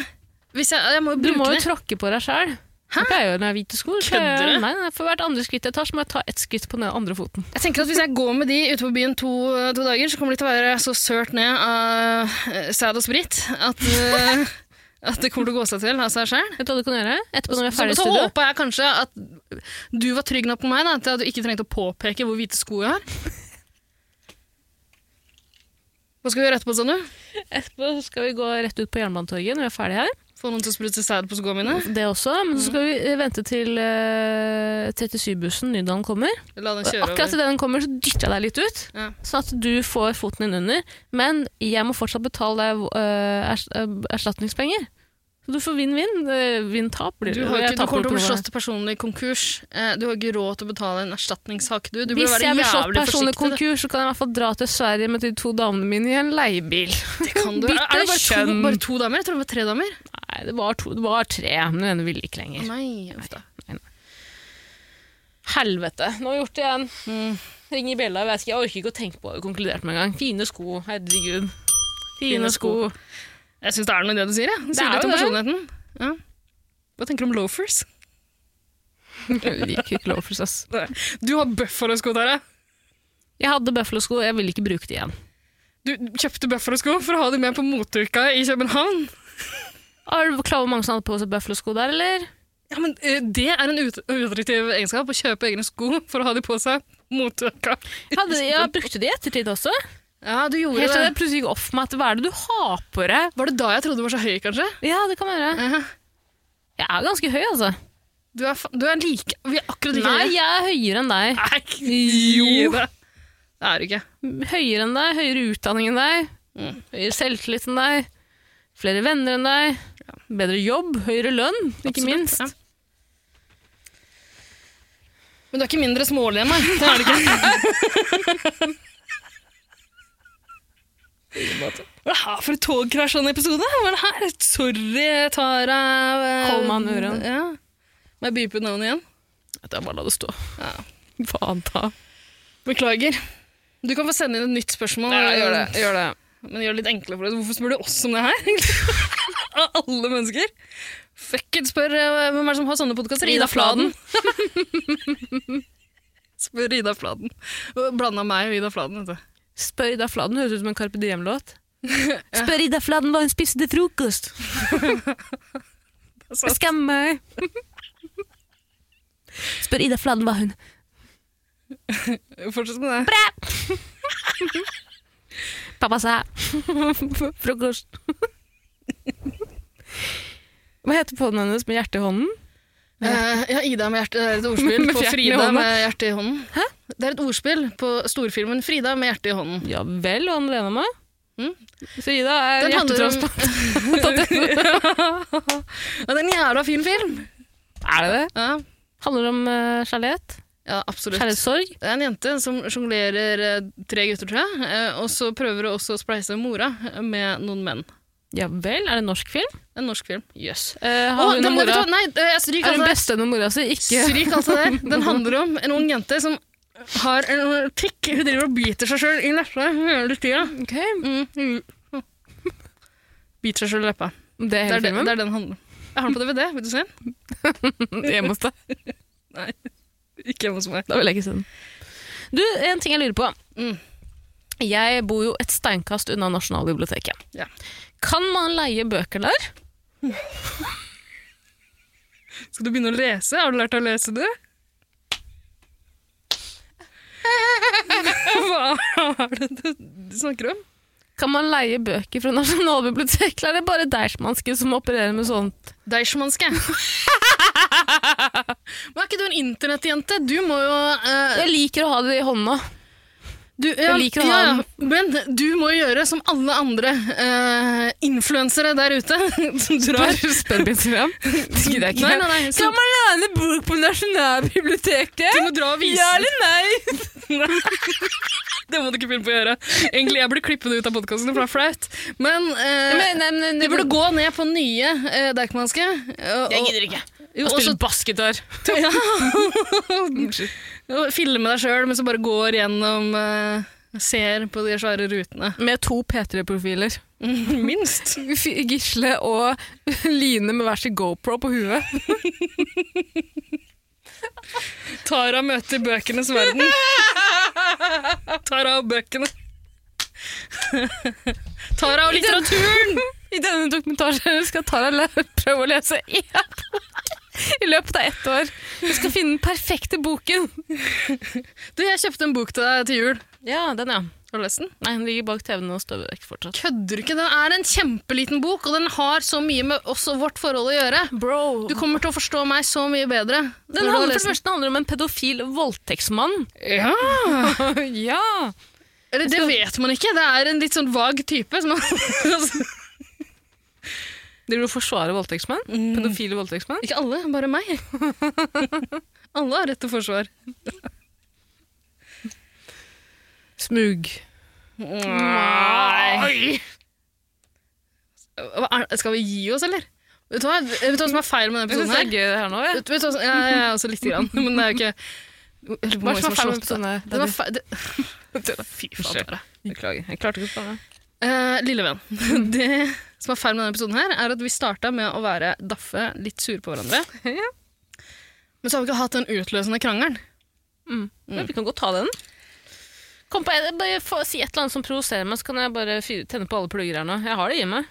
Hvis jeg, jeg må jo
Du
bruke
må jo
det.
tråkke på deg sjøl. Det pleier jeg å gjøre når jeg har hvite sko. Så
Kødder
jeg-
du?
Nei, nei, For hvert andre skritt jeg tar, så må jeg ta ett skritt på den andre foten.
Jeg tenker at Hvis jeg går med de ute på byen to, to dager, så kommer de til å være så sørt ned av eh, sæd og sprit at, eh, at det kommer til å gå seg til av seg sjøl.
Vet du hva du kan gjøre? Etterpå når vi er
Så,
ferdig i
så
studio.
håpa jeg kanskje at du var trygg nok på meg da, til at du ikke trengte å påpeke hvor hvite sko jeg har. Hva skal vi gjøre etterpå, sa du?
Etterpå skal vi gå rett ut på Jernbanetorget når vi er ferdig her.
Få noen til å sprute sæd på skoene mine?
Det også, Men så
Mm.
skal vi eh, vente til eh, 37-bussen Nydalen kommer.
La den
Og
kjøre
akkurat idet den kommer, så dytter jeg deg litt ut.
Ja.
Sånn at du får foten din under. Men jeg må fortsatt betale deg eh, ers eh, erstatningspenger. Så du får vinn-vinn. Eh, Vinn-tap blir
Du,
det.
har
Jeg
ikke, du
taper
kommer til å
på
bli
det.
slått til personlig konkurs. Eh, Du har ikke råd til å betale en erstatningssak, du. Du burde
Hvis
være
jeg blir slått
jævlig
personlig
forsiktig.
konkurs, så kan jeg i hvert fall dra til Sverige med de to damene mine i en leiebil.
du. Det kan du. Er
Bytte
det bare to,
kjønn.
bare to damer? Jeg tror det var tre damer.
Nei, det var, to, det var tre, men den ene ville ikke lenger.
Nei, uff da.
Helvete, nå har vi gjort det igjen.
Mm.
Ring i bjella, jeg, vet ikke, jeg orker ikke å tenke på det, konkludert med en gang. Fine sko, herregud.
Fine
Fine sko.
Jeg syns det er noe i det du sier. Ja. Du sier
er
litt om
jo det.
personligheten. Ja. Hva tenker du om loafers?
Jeg liker ikke loafers, ass.
Du har buffalo-sko, Tara.
Jeg hadde bøffelsko, jeg vil ikke bruke det igjen.
Du kjøpte buffalo-sko for å ha dem med på moteuka i København.
Er det klar over hvor mange som hadde på seg bøffelsko der, eller?
Ja, men eh, Det er en ut- uattraktiv egenskap, å kjøpe egne sko for å ha dem på seg moteuka.
Jeg Hadde, jeg brukte det i ettertid også.
Ja, du gjorde
Helt til
det.
det plutselig gikk opp for meg at hva er det du har på deg?
Var det da jeg trodde du var så høy, kanskje?
Ja, det kan være.
Uh
Jeg er ganske høy, altså.
Du er, fa- du er like Vi er akkurat like
Nei, jeg er høyere enn deg.
Nei, gi
Jo.
deg. Det er du ikke.
høyere enn deg, høyere utdanning enn deg, høyere selvtillit enn deg, flere venner enn deg, bedre jobb, høyere lønn, ikke
Absolutt,
minst.
ja. Men du er ikke mindre smålig enn meg. Det er du ikke. Hva er det her for et togkrasj av en episode? Hva er det her? Sorry, Tara. eh,
Holman Uren.
Ja. Må jeg beepe ut navnet igjen?
Jeg bare la det stå.
Ja.
Faen ta.
Beklager. Du kan få sende inn et nytt spørsmål.
gjør det.
Men gjør det litt enklere for deg. Hvorfor spør du oss om det her? egentlig? Av alle mennesker. Fuck it, spør eh, hvem er det som har sånne podkaster? Ida
Ida
Fladen. spør Ida Fladen. Blanda meg og Ida Fladen, vet du.
Spør Ida Fladen høres ut som en Carpe Diem-låt. Spør Ida Fladen hva hun spiste til frokost.
sant.
Skam meg. Spør Ida Fladen hva hun
Fortsett med det.
Pappa sa frokost. Hva heter podden hennes med hjerte i hånden?
Eh, ja, Ida med hjerte det er et ordspill
Med
på
fjerten i
Frida
hånda.
med hjertet i hånden. Hæ? Det er et ordspill på storfilmen Frida med hjertet i hånden.
Ja vel, og han lener meg.
Mm.
Så Ida er
Den handler om-
hjertetransplantat.
Ja, det er en jævla fin film!
er det det?
Ja,
Handler om eh, kjærlighet.
ja absolutt.
Kjærlighetssorg.
Det er en jente som sjonglerer eh, tre gutter, tror jeg, eh, og så prøver hun også å spleise mora med noen menn.
Ja vel, er det en norsk film?
En norsk film. Jøss. Yes.
Eh, har
Å,
hun
den-
og
vet du
mora
hva? Nei, eh, jeg stryker
Er hun
alt det
beste enn mora si? Ikke
der. Stryk alt det der. Den handler om en ung jente som har en tikk. Hun driver og biter seg sjøl i leppa hele tida.
Ok.
Mm. Biter seg sjøl i leppa.
Det er
Det
hele
er, det,
filmen?
det er den handler om. Jeg har den på DVD, vil du se den?
Hjemme hos deg.
Ikke hjemme hos meg.
Da vil jeg ikke se den. Du, en ting jeg lurer på.
Mm.
Jeg bor jo et steinkast unna Nasjonalbiblioteket.
Ja.
Kan man leie bøker der?
Skal du begynne å lese? Har du lært å lese, du? Hva er det du, du snakker om?
Kan man leie bøker fra Nasjonalbiblioteket, eller er det bare Deichmanske som opererer med sånn? sånt?
Deichmanske. Men er ikke du en internettjente? Du må jo eh,
Jeg liker å ha det i hånda.
du, ja,
jeg liker å ha
ja, Men du må jo gjøre som alle andre eh, influensere der ute. Som drar
Spør på Instagram. Det gidder jeg ikke.
Nei, nei, nei. Så,
Kan man leie bok på
du
Nasjonalbiblioteket?
må dra og vise
Ja eller nei?
Det må du ikke finne på å gjøre. Egentlig, jeg blir klippet ut av podkasten, for det er flaut. Men, eh,
Men, nei, men,
du burde gå ned på nye eh, Deichmanske. og-
Jeg gidder ikke.
Jo,
Jeg
og
spiller bassgitar.
så- og filme deg sjøl, men så bare går gjennom eh, Ser på de svære rutene.
Med to P3-profiler.
Minst.
F- Gisle og Line med hver sin GoPro på huet.
Tara møter bøkenes verden. Tara og bøkene. Tara og litteraturen!
I denne dokumentaren skal Tara læ- prøve å lese én bok i løpet av ett år. Hun skal finne den perfekte boken.
Du, jeg kjøpte en bok til deg til jul.
Ja, den, ja.
Har du lest den?
Nei, hun ligger bak TV-en og støver vekk fortsatt.
Kødder du ikke? Den er en kjempeliten bok, og den har så mye med oss og vårt forhold å gjøre.
Bro.
Du kommer til å forstå meg så mye bedre.
den handler, for det første handler om en pedofil voldtektsmann.
Ja.
ja.
Eller det vet man ikke. Det er en litt sånn vag type. Som
Driver du og forsvarer voldtektsmenn? Pedofile voldtektsmenn?
ikke alle, bare meg. Alle har rett til forsvar.
Smug.
Nei. Hva er- Skal vi gi oss, eller? Vet du hva, vet du hva som er feil med denne
Jeg syns
episoden?
det er gøy det
her?
Sånn her nå. Jeg.
Vet, vet du hva som, ja, ja, ja, altså lite grann, men det er jo ikke Eller hvor
Hva
mange
er det som er feil med
slått av?
episoden her?
Den er feil- det- Fy faen.
Unnskyld. Beklager. Jeg klarte ikke å spørre.
Eh, lille venn, det som er feil med denne episoden her, er at vi starta med å være daffe, litt sure på hverandre.
Ja.
Men så har vi ikke hatt den utløsende krangelen.
Mm. Men Vi kan godt ta den. Kom på, en- bare få, si et eller annet som provoserer meg, så kan jeg bare fyre, tenne på alle plugger her nå. Jeg har det i meg.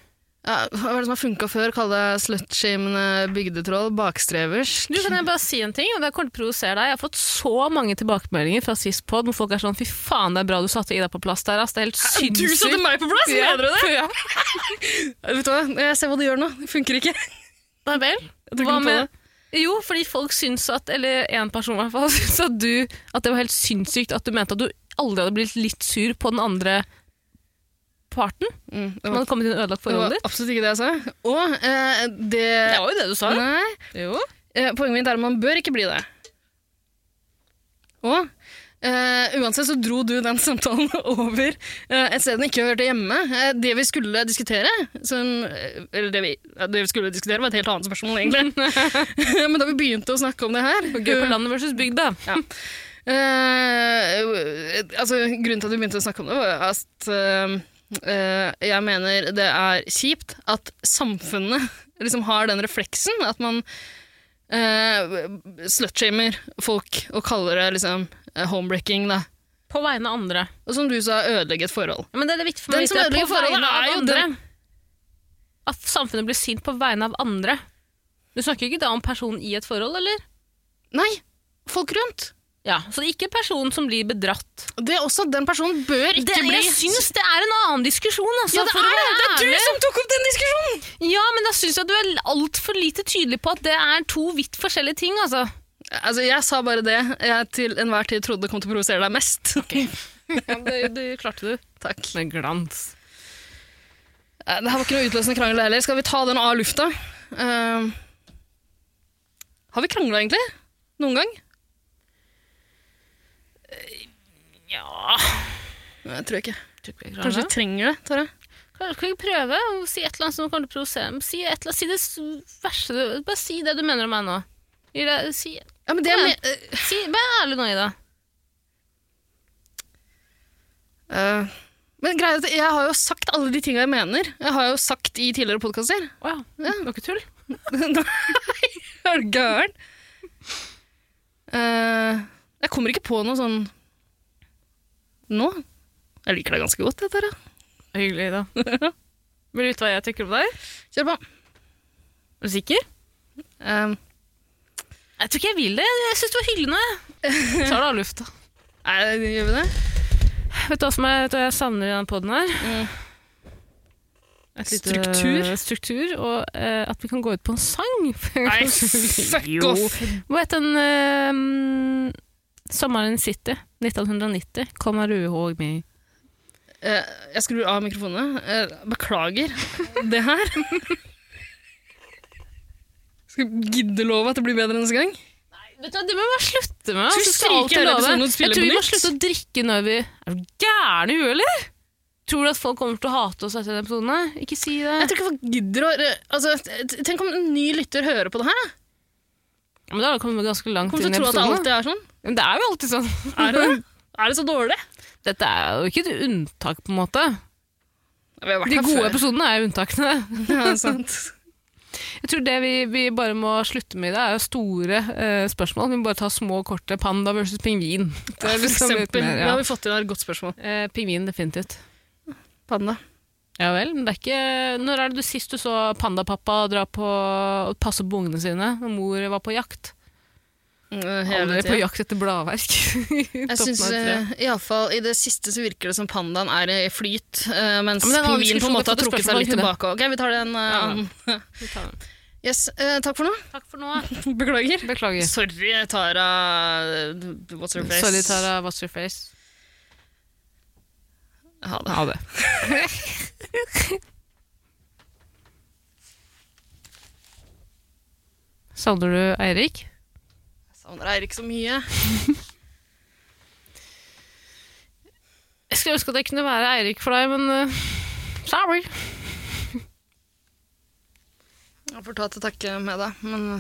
Ja, hva er det som har funka før? Kalle deg slutshamende bygdetroll, bakstrevers.
Du, kan jeg bare si en ting, og det kommer til å provosere deg. Jeg har fått så mange tilbakemeldinger fra sist pod hvor folk er sånn 'fy faen, det er bra du satte Ida på plass der', ass. Det er helt sinnssykt.
Du satte meg på plass!
Ja,
Mener du det? Vet du hva, jeg ser hva du gjør nå. Det funker ikke.
Nei vel?
tror ikke
Hva
noe på
med Jo, fordi folk syns at Eller én person i hvert fall syns at du At det var helt sinnssykt at du mente at du aldri hadde blitt litt sur på den andre parten.
Mm, det,
Som
var,
hadde kommet inn og ødelagt
det
forholdet
var
ditt.
absolutt ikke det jeg sa. Og eh, det
Det var jo det du sa.
Nei.
Jo.
Eh, poenget mitt er at man bør ikke bli det. Og eh, uansett så dro du den samtalen over eh, et sted den ikke hørte hjemme. Eh, det vi skulle diskutere, som, eh, eller det vi, ja, det vi skulle diskutere var et helt annet spørsmål egentlig. Men da vi begynte å snakke om det her
Gøy på landet versus bygda.
eh, eh, altså, Grunnen til at vi begynte å snakke om det, var at eh, eh, jeg mener det er kjipt at samfunnet liksom har den refleksen at man uh, slutshamer folk og kaller det liksom eh, homebreaking, da.
På vegne av andre.
Og som du sa, ødelegge et forhold.
Men det er det viktig for
Den
meg.
som
ikke det
ødelegger
på
forholdet
vegne av
er jo
andre.
den-
At samfunnet blir sint på vegne av andre. Du snakker ikke da om personen i et forhold, eller?
Nei, folk rundt.
Ja, Så det er ikke personen som blir bedratt.
Det er også, Den personen bør ikke
Det,
bli
jeg syns det er en annen diskusjon, altså.
ja, det
for å
er det!
være
Det er
ærlig.
du som tok opp den diskusjonen!
Ja, men da syns jeg du er altfor lite tydelig på at det er to vidt forskjellige ting, altså.
Altså, Jeg sa bare det jeg til enhver tid trodde kom til å provosere deg mest.
det, klarte du.
Takk.
Med glans.
Eh, Det her var ikke noe utløsende krangel heller. Skal vi ta den av lufta? Eh, har vi krangla egentlig? Noen gang?
Ja
Nei, Jeg tror ikke.
Tror ikke vi klarer
Kanskje
det.
vi trenger det, Tara?
Kan kan vi prøve å si et eller annet som kommer til å provosere meg? Si, et eller annet, si det s- verste du Bare si det du mener om meg nå. Gi deg- Si,
Ja, men det
Kom
er
igjen. si, vær ærlig nå, Ida.
med- eh, Men greia er at jeg har jo sagt alle de tinga jeg mener. Jeg har jo sagt i tidligere podkaster.
Å ja. Det var ikke tull?
Er du gæren? Eh, jeg kommer ikke på noe sånn nå. Jeg liker deg ganske godt, jeg, Tara.
Hyggelig, Ida. Vil du vite hva jeg tenker om deg?
Kjør på.
Er du sikker?
Eh,
Jeg tror ikke jeg vil det. Jeg syns det var hyggelig nå, jeg. Tar det av lufta.
nei, gjør vi det?
Vet du hva som er, vet du hva jeg savner i den poden her?
Mm.
Et lite
Struktur?
struktur og eh, at vi kan gå ut på en sang.
Nei, fuck
Jo.
off!
Hva het den ehm, Sommeren City 1990? Kom og rue håg mi.
Eh, jeg skrur av mikrofonene. Eh, beklager det her. Skal vi gidde love at det blir bedre neste gang?
Vet du hva, Det må vi bare slutte med.
Skal vi
altså, skal
stryke
alltid
hele
love.
episoden og
Jeg
spille
tror
på
vi må
nytt?
slutte å drikke når vi Er du gæren i huet, eller? Tror du at folk kommer til å hate oss etter den episoden? her? Ikke si det.
Jeg tror ikke folk gidder å eh, altså, t- Tenk om en ny lytter hører på det her. da.
Ja, Men da har vi kommet ganske langt
Kommer
inn
til
i
å tro at det
episoden. da.
alltid er sånn.
Men det er jo alltid sånn.
Er det, er det så dårlig?
Dette er jo ikke et unntak, på en måte.
Vi har vært
De
her
gode
før.
episodene er jo unntakene.
Ja, sant.
Jeg tror det vi, vi bare må slutte med i dag, er jo store eh, spørsmål. Vi må bare ta små, korte. Panda versus pingvin. Det er
For
liksom litt
eksempel.
mer, ja.
Det har vi fått inn her. Godt spørsmål.
Eh, pingvin, definitivt.
Panda.
Ja vel, men det er ikke Når er det du sist du så pandapappa dra på og passe på ungene sine? Når mor var på jakt?
Mm,
Alle
Hele
er på
tida.
jakt etter bladverk.
Jeg syns
eh,
iallfall i det siste så virker det som pandaen er i flyt, eh, mens
Ja, men det er en annen
pingvinen på
diskusjon,
en måte har
det er
trukket
spørsmål,
seg litt
ikke det?
tilbake. Ok, vi tar den. eh,
Ja,
annen. Yes, eh, takk for nå.
Takk for nå.
Beklager.
Beklager.
Sorry, Tara. What's your face?
Sorry, Tara. What's your face?
Ha det.
Ha det. Savner du Eirik?
Jeg savner Eirik så mye.
Jeg skulle ønske at jeg kunne være Eirik for deg, men eh, sorry.
Jeg får ta til takke med deg, men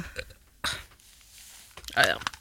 Ja, ja.